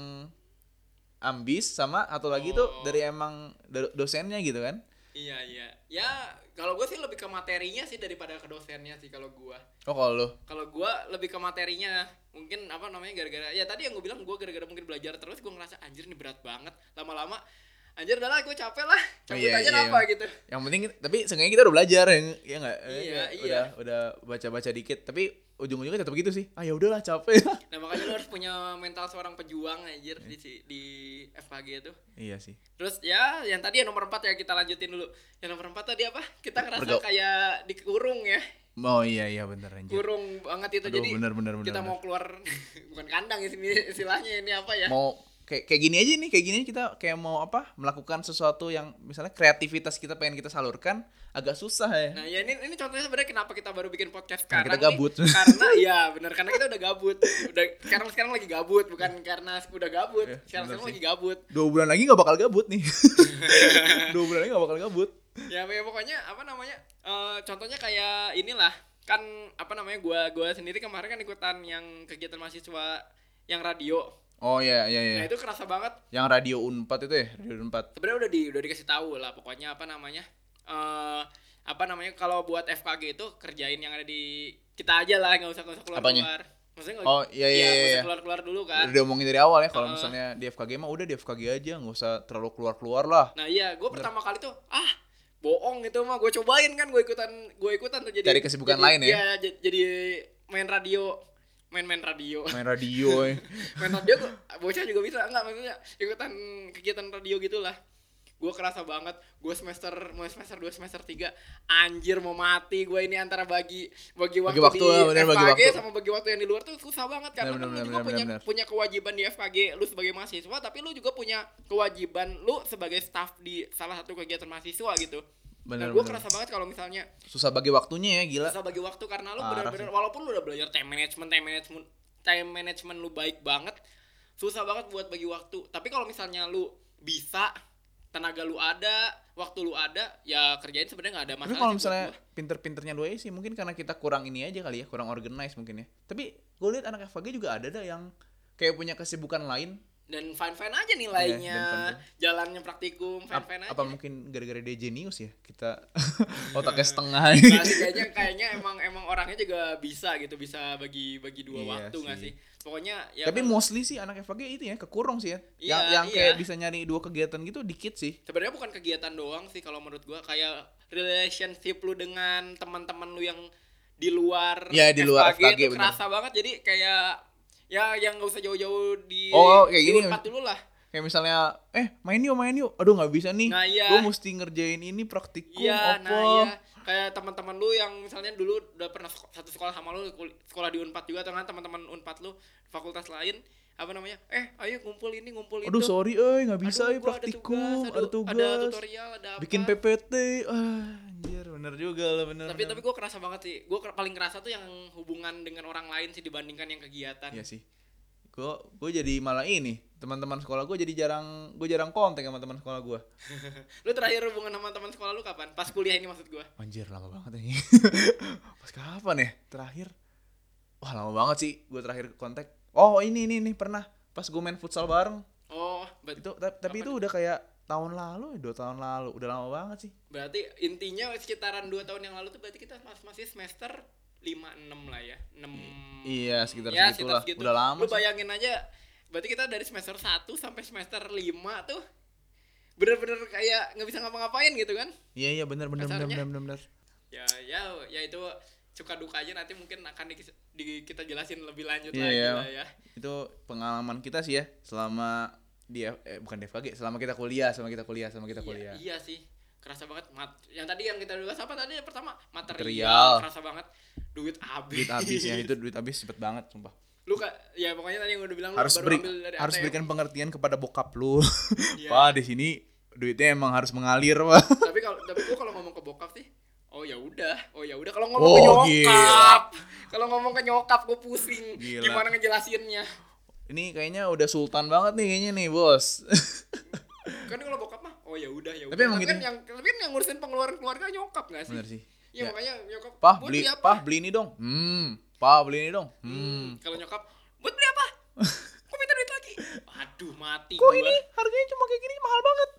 [SPEAKER 1] ambis sama atau lagi tuh
[SPEAKER 2] Oh.
[SPEAKER 1] dari emang do- dosennya gitu kan
[SPEAKER 2] Iya iya. Ya kalau gue sih lebih ke materinya sih daripada ke dosennya sih kalau gua.
[SPEAKER 1] oh kalau lu
[SPEAKER 2] Kalau gua lebih ke materinya mungkin apa namanya gara-gara ya tadi yang gue bilang gua gara-gara mungkin belajar terus gue ngerasa anjir ini berat banget lama-lama anjir udah lah gue capek lah cabut
[SPEAKER 1] iya,
[SPEAKER 2] aja
[SPEAKER 1] iya.
[SPEAKER 2] apa gitu
[SPEAKER 1] yang penting kita- tapi seenggaknya kita udah belajar ya nggak- ya nggak Eh,
[SPEAKER 2] Iya,
[SPEAKER 1] kayak
[SPEAKER 2] iya.
[SPEAKER 1] udah udah baca-baca dikit tapi ujung-ujungnya tetap gitu sih ah ya udahlah capek [laughs]
[SPEAKER 2] nah makanya lu harus punya mental seorang pejuang anjir di si- di FKG itu
[SPEAKER 1] iya sih
[SPEAKER 2] Terus ya yang tadi yang nomor 4 ya kita lanjutin dulu. Yang nomor 4 tadi apa? Kita ngerasa
[SPEAKER 1] Pergau-
[SPEAKER 2] kayak dikurung ya.
[SPEAKER 1] oh iya iya bener anjir
[SPEAKER 2] Kurung banget itu
[SPEAKER 1] Aduh,
[SPEAKER 2] jadi
[SPEAKER 1] bener, bener, bener,
[SPEAKER 2] kita
[SPEAKER 1] bener.
[SPEAKER 2] mau keluar [laughs] bukan kandang ya sini istilahnya ini apa ya?
[SPEAKER 1] mau kayak kayak gini aja nih kayak gini kita kayak mau apa melakukan sesuatu yang misalnya kreativitas kita pengen kita salurkan agak susah ya
[SPEAKER 2] Nah, ya ini ini contohnya sebenarnya kenapa kita baru bikin podcast
[SPEAKER 1] Karena kita
[SPEAKER 2] sekarang
[SPEAKER 1] gabut.
[SPEAKER 2] Nih, [laughs]
[SPEAKER 1] [laughs]
[SPEAKER 2] karena ya benar karena kita udah gabut. Udah sekarang sekarang lagi gabut bukan karena udah gabut.
[SPEAKER 1] Iya,
[SPEAKER 2] sekarang
[SPEAKER 1] bener
[SPEAKER 2] sekarang
[SPEAKER 1] sih.
[SPEAKER 2] lagi gabut.
[SPEAKER 1] dua bulan lagi nggak bakal gabut nih [laughs] dua bulan lagi nggak bakal gabut
[SPEAKER 2] ya ya, pokoknya apa namanya eh, contohnya kayak inilah kan apa namanya gua gua sendiri kemarin kan ikutan yang kegiatan mahasiswa yang radio
[SPEAKER 1] oh iya iya iya
[SPEAKER 2] nah itu kerasa banget
[SPEAKER 1] yang radio unpad itu ya radio unpad
[SPEAKER 2] sebenarnya udah di udah dikasih tahu lah pokoknya apa namanya eh apa namanya kalau buat FKG itu kerjain yang ada di kita aja lah nggak usah nggak usah keluar
[SPEAKER 1] Apanya?
[SPEAKER 2] keluar maksudnya nggak
[SPEAKER 1] Oh, iya, iya,
[SPEAKER 2] nggak
[SPEAKER 1] iya,
[SPEAKER 2] usah
[SPEAKER 1] iya.
[SPEAKER 2] keluar keluar dulu kan
[SPEAKER 1] udah diomongin dari awal ya kalau
[SPEAKER 2] Heeh.
[SPEAKER 1] misalnya di FKG mah udah di FKG aja nggak usah terlalu keluar keluar lah
[SPEAKER 2] nah iya gue pertama kali tuh ah bohong itu mah gue cobain kan gue ikutan gue ikutan tuh jadi
[SPEAKER 1] Cari kesibukan
[SPEAKER 2] jadi-
[SPEAKER 1] lain ya?
[SPEAKER 2] iya, j- jadi main radio main main radio
[SPEAKER 1] main radio ya.
[SPEAKER 2] Nah, main radio gua- bocah juga bisa enggak maksudnya ikutan kegiatan radio gitulah gue kerasa banget gue semester mau semester 2 semester 3 anjir mau mati gue ini antara bagi bagi waktu,
[SPEAKER 1] waktu,
[SPEAKER 2] di
[SPEAKER 1] ya, bener,
[SPEAKER 2] FKG
[SPEAKER 1] bagi waktu.
[SPEAKER 2] sama bagi waktu yang di luar tuh susah banget karena
[SPEAKER 1] Bener,
[SPEAKER 2] kan
[SPEAKER 1] bener,
[SPEAKER 2] lu juga
[SPEAKER 1] bener,
[SPEAKER 2] punya
[SPEAKER 1] bener.
[SPEAKER 2] punya kewajiban di FKG lu sebagai mahasiswa tapi lu juga punya kewajiban lu sebagai staff di salah satu kegiatan mahasiswa gitu
[SPEAKER 1] Bener,
[SPEAKER 2] nah gue
[SPEAKER 1] bener.
[SPEAKER 2] kerasa banget kalau misalnya
[SPEAKER 1] susah bagi waktunya ya gila
[SPEAKER 2] susah bagi waktu karena lu
[SPEAKER 1] Parah
[SPEAKER 2] benar-benar walaupun lu udah belajar time management time management time management lu baik banget susah banget buat bagi waktu tapi kalau misalnya lu bisa tenaga lu ada waktu lu ada ya kerjain sebenarnya nggak ada masalah
[SPEAKER 1] tapi kalau
[SPEAKER 2] sih buat
[SPEAKER 1] misalnya
[SPEAKER 2] gua.
[SPEAKER 1] pinter-pinternya dua sih mungkin karena kita kurang ini aja kali ya kurang organize mungkin ya tapi gue lihat anak FAG juga ada dah yang kayak punya kesibukan lain
[SPEAKER 2] dan fine fine aja nilainya
[SPEAKER 1] Iya, dan
[SPEAKER 2] jalannya praktikum fine
[SPEAKER 1] Ap-
[SPEAKER 2] fine aja
[SPEAKER 1] apa mungkin gara-gara dia jenius ya
[SPEAKER 2] [laughs]
[SPEAKER 1] kita otaknya setengah gitu.
[SPEAKER 2] Nah, sih, kayaknya kayaknya emang emang orangnya juga bisa gitu bisa bagi bagi dua
[SPEAKER 1] Iya
[SPEAKER 2] waktu nggak
[SPEAKER 1] sih.
[SPEAKER 2] sih pokoknya ya
[SPEAKER 1] tapi mostly sih anak FAG itu ya kekurung sih ya
[SPEAKER 2] Iya,
[SPEAKER 1] yang yang
[SPEAKER 2] iya.
[SPEAKER 1] kayak bisa nyari dua kegiatan gitu dikit sih
[SPEAKER 2] sebenarnya bukan kegiatan doang sih kalau menurut gua kayak relationship lu dengan teman-teman lu yang di luar
[SPEAKER 1] Ya, di luar FKG,
[SPEAKER 2] itu
[SPEAKER 1] bener.
[SPEAKER 2] kerasa banget jadi kayak ya yang nggak usah jauh-jauh di
[SPEAKER 1] Oh, oh, kayak
[SPEAKER 2] di
[SPEAKER 1] gini.
[SPEAKER 2] Unpad dulu lah
[SPEAKER 1] kayak misalnya eh main yuk main yuk aduh nggak bisa nih
[SPEAKER 2] Nah, iya.
[SPEAKER 1] gue mesti ngerjain ini praktikum apa
[SPEAKER 2] iya nah iya kayak teman-teman lu yang misalnya dulu udah pernah sek- satu sekolah sama lu kul- sekolah di unpad juga atau nggak teman-teman unpad lu fakultas lain apa namanya eh ayo ngumpul ini ngumpul
[SPEAKER 1] aduh
[SPEAKER 2] itu
[SPEAKER 1] sorry eh nggak bisa
[SPEAKER 2] Aduh,
[SPEAKER 1] ya
[SPEAKER 2] gua ada
[SPEAKER 1] praktikum
[SPEAKER 2] tugas,
[SPEAKER 1] ada
[SPEAKER 2] aduh,
[SPEAKER 1] tugas,
[SPEAKER 2] ada tutorial ada apa
[SPEAKER 1] bikin PPT ah anjir bener juga lah bener
[SPEAKER 2] tapi
[SPEAKER 1] bener.
[SPEAKER 2] tapi gue kerasa banget sih gue paling kerasa tuh yang hubungan dengan orang lain sih dibandingkan yang kegiatan
[SPEAKER 1] Iya sih gue gue jadi malah ini teman-teman sekolah gue jadi jarang gue jarang kontak sama teman sekolah gue
[SPEAKER 2] lu terakhir hubungan sama teman sekolah lu kapan pas kuliah ini maksud gue
[SPEAKER 1] anjir lama banget ini [laughs] pas kapan ya terakhir wah lama banget sih gue terakhir kontak oh ini ini ini pernah pas gue main futsal bareng
[SPEAKER 2] oh bet
[SPEAKER 1] itu ta- tapi itu udah kayak tahun lalu dua tahun lalu udah lama banget sih
[SPEAKER 2] Berarti intinya sekitaran 2 tahun yang lalu tuh berarti kita mas- masih semester 5 6 lah ya. 6
[SPEAKER 1] iya sekitar
[SPEAKER 2] ya,
[SPEAKER 1] segitulah
[SPEAKER 2] segitu.
[SPEAKER 1] udah lama
[SPEAKER 2] Lu
[SPEAKER 1] sih.
[SPEAKER 2] bayangin aja berarti kita dari semester 1 sampai semester 5 tuh bener-bener kayak nggak bisa ngapa-ngapain gitu kan.
[SPEAKER 1] iya iya benar benar benar
[SPEAKER 2] Kasarnya.
[SPEAKER 1] benar benar benar.
[SPEAKER 2] Ya ya ya itu suka dukanya nanti mungkin akan di, di- kita jelasin lebih lanjut
[SPEAKER 1] Iya,
[SPEAKER 2] lagi
[SPEAKER 1] iya.
[SPEAKER 2] lah ya.
[SPEAKER 1] itu pengalaman kita sih ya selama di F- eh, bukan di FKG selama kita kuliah selama kita kuliah selama kita
[SPEAKER 2] Iya,
[SPEAKER 1] kuliah
[SPEAKER 2] iya sih. Kerasa banget mat yang tadi yang kita dulu apa tadi yang pertama material,
[SPEAKER 1] Material.
[SPEAKER 2] kerasa banget duit habis.
[SPEAKER 1] duit habis ya itu duit habis cepet banget sumpah
[SPEAKER 2] [laughs] Lu Kak, ya pokoknya tadi yang udah bilang lu
[SPEAKER 1] harus
[SPEAKER 2] baru
[SPEAKER 1] beri
[SPEAKER 2] ambil dari
[SPEAKER 1] harus
[SPEAKER 2] ATM.
[SPEAKER 1] berikan pengertian kepada bokap lu
[SPEAKER 2] Iya.
[SPEAKER 1] pak di sini duitnya emang harus mengalir pak
[SPEAKER 2] [laughs] tapi kalau tapi gua kalau ngomong ke bokap sih oh ya udah oh ya udah kalau ngomong ke
[SPEAKER 1] Oh,
[SPEAKER 2] nyokap kalau ngomong ke nyokap gue pusing
[SPEAKER 1] Gila.
[SPEAKER 2] gimana ngejelasinnya
[SPEAKER 1] ini kayaknya udah sultan banget nih kayaknya nih
[SPEAKER 2] [laughs]
[SPEAKER 1] bos
[SPEAKER 2] kan kalau bokap mah oh ya udah ya udah
[SPEAKER 1] emang gitu.
[SPEAKER 2] kan yang tapi kan yang ngurusin pengeluaran keluarga nyokap nggak sih
[SPEAKER 1] bener sih
[SPEAKER 2] ya,
[SPEAKER 1] Ya.
[SPEAKER 2] makanya nyokap
[SPEAKER 1] pah
[SPEAKER 2] "Buat
[SPEAKER 1] beli
[SPEAKER 2] apa?"
[SPEAKER 1] pah beli ini dong hmm pah beli ini dong hmm
[SPEAKER 2] kalau nyokap buat beli
[SPEAKER 1] [laughs]
[SPEAKER 2] apa kok minta duit lagi aduh mati
[SPEAKER 1] kok
[SPEAKER 2] gua.
[SPEAKER 1] ini harganya cuma kayak gini mahal
[SPEAKER 2] [laughs]
[SPEAKER 1] banget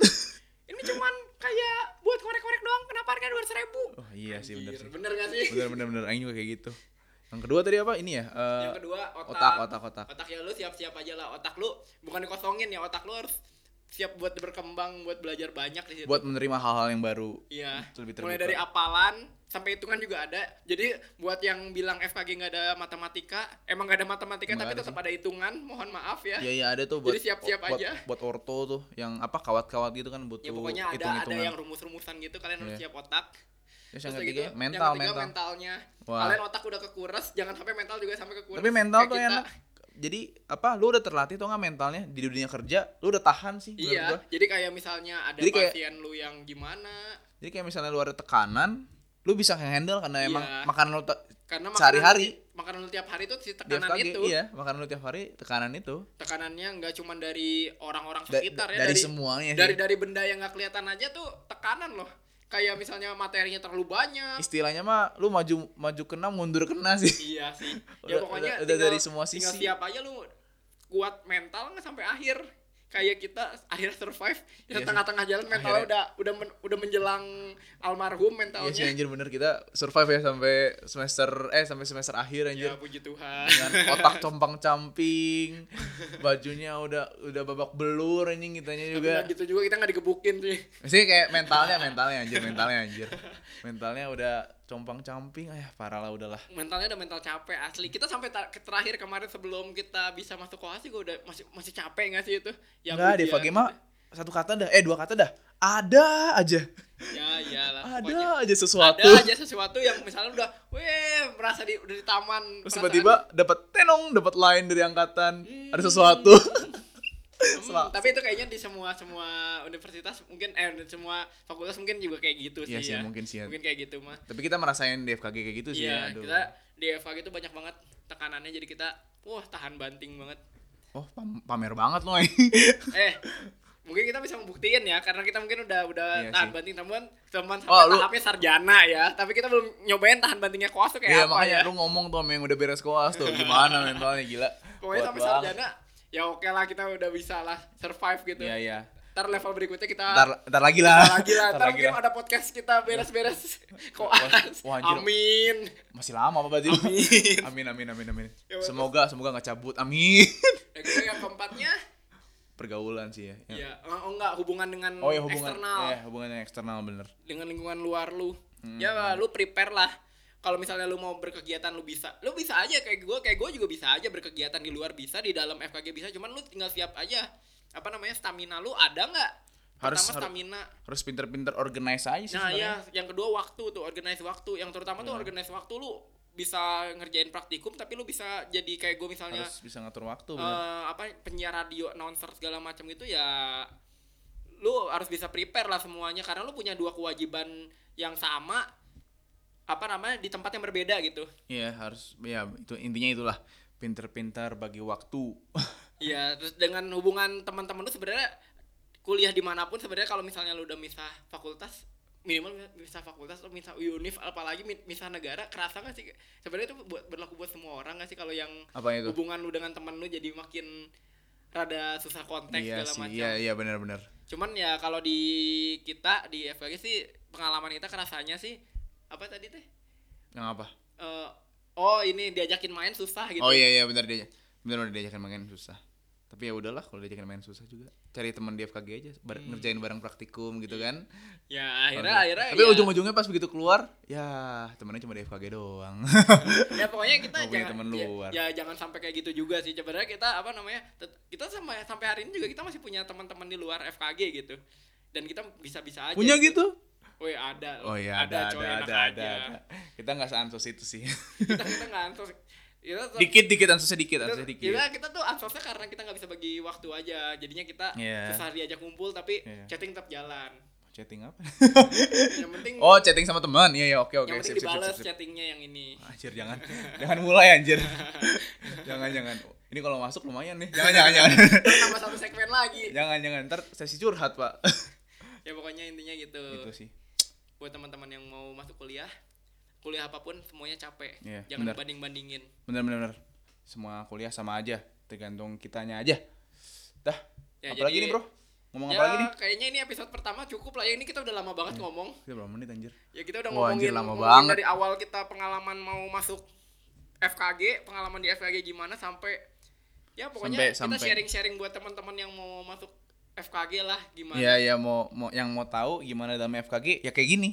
[SPEAKER 2] ini cuman kayak buat korek-korek doang kenapa harganya dua ribu
[SPEAKER 1] oh iya sih bener sih
[SPEAKER 2] bener nggak sih
[SPEAKER 1] bener bener bener Aing juga kayak gitu yang kedua tadi apa ini ya Eh,
[SPEAKER 2] yang kedua
[SPEAKER 1] otak otak otak
[SPEAKER 2] otak ya lu siap-siap aja lah otak lu bukan dikosongin ya otak lu harus siap buat berkembang buat belajar banyak di situ
[SPEAKER 1] buat menerima hal-hal yang baru
[SPEAKER 2] iya
[SPEAKER 1] lebih terbuka.
[SPEAKER 2] mulai dari apalan sampai hitungan juga ada jadi buat yang bilang FKG nggak ada matematika emang nggak ada matematika
[SPEAKER 1] Nggak
[SPEAKER 2] tapi
[SPEAKER 1] ada
[SPEAKER 2] tetap ada hitungan mohon maaf ya
[SPEAKER 1] Iya iya ada tuh buat
[SPEAKER 2] Jadi siap-siap
[SPEAKER 1] buat,
[SPEAKER 2] aja.
[SPEAKER 1] buat orto tuh yang apa kawat-kawat gitu kan butuh
[SPEAKER 2] ya pokoknya ada ada
[SPEAKER 1] hitung-hitungan.
[SPEAKER 2] yang rumus-rumusan gitu kalian harus
[SPEAKER 1] Iya.
[SPEAKER 2] siap otak
[SPEAKER 1] Terus yang
[SPEAKER 2] Terus
[SPEAKER 1] ketiga
[SPEAKER 2] gitu,
[SPEAKER 1] mental
[SPEAKER 2] yang ketiga
[SPEAKER 1] mental.
[SPEAKER 2] mentalnya
[SPEAKER 1] Wah.
[SPEAKER 2] kalian otak udah kekuras jangan sampai mental juga sampai kekuras
[SPEAKER 1] Tapi mental
[SPEAKER 2] Kayak
[SPEAKER 1] tuh
[SPEAKER 2] kita.
[SPEAKER 1] enak. Jadi apa lu udah terlatih tuh nggak mentalnya di dunia kerja lu udah tahan sih menurut
[SPEAKER 2] iya
[SPEAKER 1] gua.
[SPEAKER 2] jadi kayak misalnya ada
[SPEAKER 1] Jadi kayak-
[SPEAKER 2] pasien lu yang gimana
[SPEAKER 1] Jadi kayak misalnya lu ada tekanan lu bisa handle karena emang
[SPEAKER 2] Iya.
[SPEAKER 1] makanan lu te-
[SPEAKER 2] karena makanan-
[SPEAKER 1] sehari-hari
[SPEAKER 2] makanan lu tiap hari itu si
[SPEAKER 1] di
[SPEAKER 2] tekanan
[SPEAKER 1] FKG
[SPEAKER 2] itu
[SPEAKER 1] iya makanan lu tiap hari tekanan itu
[SPEAKER 2] tekanannya nggak cuma dari orang-orang
[SPEAKER 1] Da-
[SPEAKER 2] sekitar ya
[SPEAKER 1] dari,
[SPEAKER 2] dari
[SPEAKER 1] semuanya
[SPEAKER 2] dari
[SPEAKER 1] sih.
[SPEAKER 2] dari benda yang nggak kelihatan aja tuh tekanan loh kayak misalnya materinya terlalu banyak
[SPEAKER 1] istilahnya mah lu maju maju kena mundur kena sih
[SPEAKER 2] iya sih
[SPEAKER 1] Udah-
[SPEAKER 2] ya pokoknya
[SPEAKER 1] udah- udah dari semua
[SPEAKER 2] tinggal
[SPEAKER 1] sisi.
[SPEAKER 2] siap aja lu kuat mental nggak sampai akhir kayak kita akhirnya survive
[SPEAKER 1] Iya
[SPEAKER 2] kita
[SPEAKER 1] sih.
[SPEAKER 2] tengah-tengah jalan mentalnya
[SPEAKER 1] Akhirnya.
[SPEAKER 2] udah udah men- udah menjelang
[SPEAKER 1] Iya
[SPEAKER 2] almarhum
[SPEAKER 1] sih
[SPEAKER 2] mentalnya
[SPEAKER 1] anjir bener kita survive ya sampai semester eh sampai semester akhir anjir Iya
[SPEAKER 2] ya puji Tuhan [laughs]
[SPEAKER 1] dengan otak compang camping bajunya udah udah babak belur anjing kitanya
[SPEAKER 2] Tapi
[SPEAKER 1] juga
[SPEAKER 2] nggak gitu juga kita nggak digebukin sih
[SPEAKER 1] sih kayak mentalnya mentalnya anjir mentalnya anjir mentalnya udah compang camping ayah parah lah udahlah
[SPEAKER 2] mentalnya udah mental capek asli kita sampai ta- ke terakhir kemarin sebelum kita bisa masuk koas sih gue udah masih masih capek nggak sih itu Ya Yang
[SPEAKER 1] enggak deh
[SPEAKER 2] ujian.
[SPEAKER 1] Fagema satu kata dah eh dua kata dah ada aja
[SPEAKER 2] ya iyalah pokoknya
[SPEAKER 1] ada aja
[SPEAKER 2] ada
[SPEAKER 1] sesuatu
[SPEAKER 2] aja sesuatu yang misalnya udah weh merasa di udah di taman
[SPEAKER 1] terus
[SPEAKER 2] perasaan,
[SPEAKER 1] tiba-tiba dapat tenong dapat lain dari angkatan ada sesuatu
[SPEAKER 2] hmm,
[SPEAKER 1] sel-
[SPEAKER 2] tapi itu kayaknya di semua semua universitas mungkin eh di semua fakultas mungkin juga kayak gitu
[SPEAKER 1] Iya
[SPEAKER 2] sih
[SPEAKER 1] sih
[SPEAKER 2] ya
[SPEAKER 1] mungkin sih ya.
[SPEAKER 2] mungkin kayak gitu mah
[SPEAKER 1] [laughs] tapi kita merasain di FKG kayak gitu sih ya,
[SPEAKER 2] iya
[SPEAKER 1] aduh.
[SPEAKER 2] kita di FAG itu banyak banget tekanannya jadi kita wah tahan banting banget
[SPEAKER 1] oh pam- pamer banget
[SPEAKER 2] [laughs]
[SPEAKER 1] loh [laughs]
[SPEAKER 2] eh mungkin kita bisa membuktiin ya karena kita mungkin udah udah
[SPEAKER 1] Iya sih.
[SPEAKER 2] tahan banting teman teman sampai
[SPEAKER 1] Oh, lu-
[SPEAKER 2] tahapnya sarjana ya tapi kita belum nyobain tahan bantingnya koas tuh
[SPEAKER 1] Iya
[SPEAKER 2] kayak apa
[SPEAKER 1] makanya
[SPEAKER 2] ya
[SPEAKER 1] lu ngomong tuh sama yang udah beres koas tuh gimana mentalnya gila.
[SPEAKER 2] pokoknya
[SPEAKER 1] Kuat
[SPEAKER 2] sampai
[SPEAKER 1] banget.
[SPEAKER 2] sarjana ya oke lah kita udah bisa lah survive gitu
[SPEAKER 1] Iya iya.
[SPEAKER 2] ntar level berikutnya kita
[SPEAKER 1] Ntar, ntar lagi lah.
[SPEAKER 2] lagi lah
[SPEAKER 1] Ntar
[SPEAKER 2] ntar
[SPEAKER 1] lagi
[SPEAKER 2] mungkin
[SPEAKER 1] lah.
[SPEAKER 2] ada podcast kita
[SPEAKER 1] [laughs]
[SPEAKER 2] beres-beres koas
[SPEAKER 1] Wah, anjir.
[SPEAKER 2] amin
[SPEAKER 1] Masih lama apa berarti? amin
[SPEAKER 2] Amin.
[SPEAKER 1] amin amin amin.
[SPEAKER 2] Ya, bagus.
[SPEAKER 1] Semoga semoga nggak cabut. Amin. [laughs]
[SPEAKER 2] dan gitu [laughs] yang keempatnya
[SPEAKER 1] Pergaulan sih ya.
[SPEAKER 2] ya, oh enggak hubungan dengan
[SPEAKER 1] Oh ya hubungan
[SPEAKER 2] eksternal
[SPEAKER 1] ya Hmm. hubungan yang eksternal bener.
[SPEAKER 2] dengan lingkungan luar lu ya lu prepare lah kalau misalnya lu mau berkegiatan lu bisa lu bisa aja kayak gue kayak gue juga bisa aja berkegiatan di luar bisa di dalam FKG bisa cuman lu tinggal siap aja apa namanya stamina lu ada nggak
[SPEAKER 1] Harus- harus-
[SPEAKER 2] pertama stamina
[SPEAKER 1] Harus pinter-pinter organize aja sih
[SPEAKER 2] nah
[SPEAKER 1] sebenarnya. Iya.
[SPEAKER 2] ya yang kedua waktu tuh organize waktu yang terutama tuh organize waktu lu bisa ngerjain praktikum tapi lu bisa jadi kayak gue misalnya
[SPEAKER 1] Harus bisa ngatur waktu bener.
[SPEAKER 2] eh apa penyiar radio announcer segala macam gitu ya lu harus bisa prepare lah semuanya karena lu punya dua kewajiban yang sama apa namanya di tempat yang berbeda gitu
[SPEAKER 1] Iya harus ya itu intinya itulah pinter-pinter bagi waktu. [laughs]
[SPEAKER 2] Iya, terus dengan hubungan teman-teman lu sebenarnya kuliah dimanapun sebenarnya kalau misalnya lu udah misah fakultas minimal misah fakultas lu misah univ apalagi mi- misah negara kerasa nggak sih sebenarnya itu buat berlaku buat semua orang nggak sih kalau yang
[SPEAKER 1] Apa itu?
[SPEAKER 2] hubungan lu dengan teman lu jadi makin rada susah kontak
[SPEAKER 1] Iya
[SPEAKER 2] segala
[SPEAKER 1] sih
[SPEAKER 2] macam
[SPEAKER 1] iya iya benar-benar.
[SPEAKER 2] cuman ya kalau di kita di FKG sih pengalaman kita kerasanya sih apa tadi teh
[SPEAKER 1] Yang apa?
[SPEAKER 2] Eh, oh ini diajakin main susah gitu
[SPEAKER 1] Oh iya iya benar dia. Benar benar diajakin main susah. Tapi ya udahlah kalau diajakin main susah juga. Cari teman di FKG aja, bar- ngerjain bareng praktikum gitu kan.
[SPEAKER 2] ya Hmm. akhirnya akhirnya
[SPEAKER 1] Tapi
[SPEAKER 2] ya,
[SPEAKER 1] ujung-ujungnya pas begitu keluar, ya temennya cuma di FKG doang. [laughs]
[SPEAKER 2] ya pokoknya kita
[SPEAKER 1] Nggak punya
[SPEAKER 2] jangan
[SPEAKER 1] temen
[SPEAKER 2] ya,
[SPEAKER 1] luar.
[SPEAKER 2] ya jangan sampai kayak gitu juga sih sebenarnya kita apa namanya tet- kita sampai sampai hari ini juga kita masih punya teman-teman di luar FKG gitu dan kita bisa-bisa aja
[SPEAKER 1] Punya gitu?
[SPEAKER 2] Woi ada
[SPEAKER 1] Oh iya ada
[SPEAKER 2] coy,
[SPEAKER 1] ada
[SPEAKER 2] enak
[SPEAKER 1] ada
[SPEAKER 2] aja.
[SPEAKER 1] ada. ada. Kita nggak seansos itu
[SPEAKER 2] [laughs]
[SPEAKER 1] sih. [laughs]
[SPEAKER 2] kita kita nggak ansos kita tuh-
[SPEAKER 1] dikit dikit ansosnya dikit ansosnya
[SPEAKER 2] kita,
[SPEAKER 1] dikit.
[SPEAKER 2] kita, kita tuh ansosnya karena kita nggak bisa bagi waktu aja jadinya kita
[SPEAKER 1] Iya.
[SPEAKER 2] susah diajak kumpul tapi
[SPEAKER 1] Iya.
[SPEAKER 2] chatting tetap
[SPEAKER 1] [laughs]
[SPEAKER 2] jalan
[SPEAKER 1] Chatting apa?
[SPEAKER 2] yang penting
[SPEAKER 1] Oh chatting sama teman. Iya iya oke oke.
[SPEAKER 2] yang penting
[SPEAKER 1] Sip, sip, sip,
[SPEAKER 2] dibales
[SPEAKER 1] sip, sip.
[SPEAKER 2] chattingnya yang
[SPEAKER 1] [laughs]
[SPEAKER 2] ini
[SPEAKER 1] Anjir jangan jangan mulai anjir. [laughs] jangan jangan. Ini kalau masuk lumayan nih. Jangan jangan jangan. [laughs]
[SPEAKER 2] tambah satu segmen lagi
[SPEAKER 1] jangan jangan ntar sesi curhat pak.
[SPEAKER 2] ya pokoknya intinya gitu
[SPEAKER 1] gitu sih.
[SPEAKER 2] buat teman-teman yang mau masuk kuliah kuliah apapun semuanya capek
[SPEAKER 1] Iya,
[SPEAKER 2] jangan
[SPEAKER 1] benar.
[SPEAKER 2] banding bandingin
[SPEAKER 1] Bener bener bener. Semua kuliah sama aja. Tergantung kitanya aja. Dah.
[SPEAKER 2] Ya,
[SPEAKER 1] apalagi
[SPEAKER 2] jadi-
[SPEAKER 1] nih bro? Ngomong apa
[SPEAKER 2] ya
[SPEAKER 1] lagi nih?
[SPEAKER 2] kayaknya ini episode pertama cukup lah ya ini kita udah lama banget ngomong
[SPEAKER 1] Kita berapa menit anjir?
[SPEAKER 2] ya kita udah
[SPEAKER 1] Wah, anjir,
[SPEAKER 2] ngomongin,
[SPEAKER 1] lama
[SPEAKER 2] ngomongin
[SPEAKER 1] banget.
[SPEAKER 2] dari awal kita pengalaman mau masuk FKG pengalaman di FKG gimana sampai ya
[SPEAKER 1] Sampai-
[SPEAKER 2] pokoknya kita
[SPEAKER 1] sampai.
[SPEAKER 2] sharing sharing buat teman-teman yang mau masuk FKG lah gimana
[SPEAKER 1] Iya ya mau mau yang mau tahu gimana dalam FKG ya kayak gini.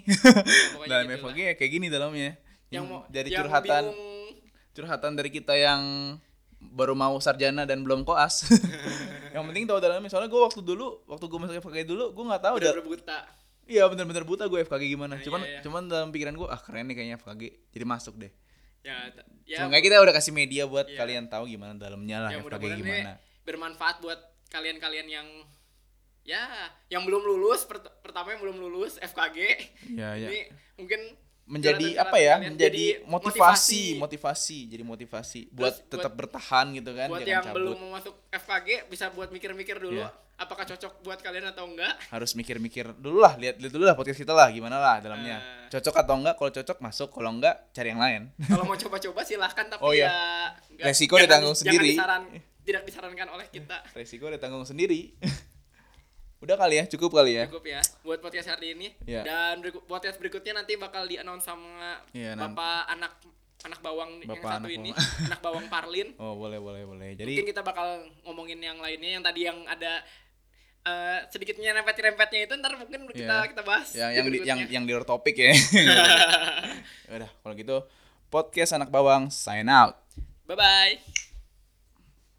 [SPEAKER 2] Pokoknya
[SPEAKER 1] [laughs] dalam
[SPEAKER 2] gitu lah.
[SPEAKER 1] FKG ya kayak gini dalamnya.
[SPEAKER 2] yang mau
[SPEAKER 1] dari
[SPEAKER 2] yang mau
[SPEAKER 1] Hmm, curhatan
[SPEAKER 2] bingung,
[SPEAKER 1] curhatan dari kita yang baru mau sarjana dan belum koas. [laughs] yang penting tahu dalamnya. Soalnya gue waktu dulu, waktu gue masuk FKG dulu, gue nggak tahu.
[SPEAKER 2] udah
[SPEAKER 1] dal-
[SPEAKER 2] berbuta
[SPEAKER 1] Iya bener-bener buta gue FKG gimana.
[SPEAKER 2] Nah,
[SPEAKER 1] cuman
[SPEAKER 2] iya, iya.
[SPEAKER 1] cuman dalam pikiran gue ah keren nih kayaknya FKG. Jadi masuk deh.
[SPEAKER 2] ya t- ya
[SPEAKER 1] Semoga kita udah kasih media buat
[SPEAKER 2] Iya.
[SPEAKER 1] kalian tahu gimana dalamnya lah
[SPEAKER 2] ya
[SPEAKER 1] FKG
[SPEAKER 2] mudah-mudahan ini
[SPEAKER 1] gimana.
[SPEAKER 2] bermanfaat buat kalian-kalian yang ya yang belum lulus pert- pertama yang belum lulus FKG
[SPEAKER 1] Ya ya.
[SPEAKER 2] ini mungkin
[SPEAKER 1] Menjadi
[SPEAKER 2] curhatan-curhatan
[SPEAKER 1] apa ya?
[SPEAKER 2] kalian
[SPEAKER 1] Menjadi
[SPEAKER 2] jadi
[SPEAKER 1] motivasi, motivasi, jadi motivasi buat
[SPEAKER 2] buat-
[SPEAKER 1] tetap bertahan gitu kan,
[SPEAKER 2] buat
[SPEAKER 1] jangan
[SPEAKER 2] yang
[SPEAKER 1] cabut.
[SPEAKER 2] belum mau masuk FKG bisa buat mikir-mikir dulu
[SPEAKER 1] Iya.
[SPEAKER 2] apakah cocok buat kalian atau enggak
[SPEAKER 1] harus mikir-mikir dulu lah lihat lihat dulu lah podcast kita lah gimana lah dalamnya
[SPEAKER 2] Eh.
[SPEAKER 1] cocok atau enggak kalau cocok masuk kalau enggak cari yang lain [laughs]
[SPEAKER 2] kalau mau coba-coba silahkan tapi
[SPEAKER 1] Oh, iya.
[SPEAKER 2] ya enggak-
[SPEAKER 1] Resiko
[SPEAKER 2] jangan-
[SPEAKER 1] ditanggung
[SPEAKER 2] jangan
[SPEAKER 1] sendiri.
[SPEAKER 2] disaran- tidak disarankan oleh kita
[SPEAKER 1] resiko ditanggung sendiri [laughs] udah kali ya cukup kali ya
[SPEAKER 2] cukup ya buat podcast hari ini
[SPEAKER 1] Iya.
[SPEAKER 2] dan berikut, podcast berikutnya nanti bakal di announce sama
[SPEAKER 1] Iya, nanti.
[SPEAKER 2] bapak anak anak bawang yang
[SPEAKER 1] Bapak anak
[SPEAKER 2] satu ini
[SPEAKER 1] bawang.
[SPEAKER 2] [laughs] anak bawang Parlin
[SPEAKER 1] oh boleh boleh boleh jadi
[SPEAKER 2] mungkin kita bakal ngomongin yang lainnya yang tadi yang ada eh, sedikitnya rempet-rempetnya itu ntar mungkin kita
[SPEAKER 1] Iya.
[SPEAKER 2] kita bahas
[SPEAKER 1] yang yang di,
[SPEAKER 2] di
[SPEAKER 1] yang
[SPEAKER 2] berikutnya.
[SPEAKER 1] yang di luar topik
[SPEAKER 2] [laughs]
[SPEAKER 1] ya udah kalau gitu podcast anak bawang sign out
[SPEAKER 2] bye bye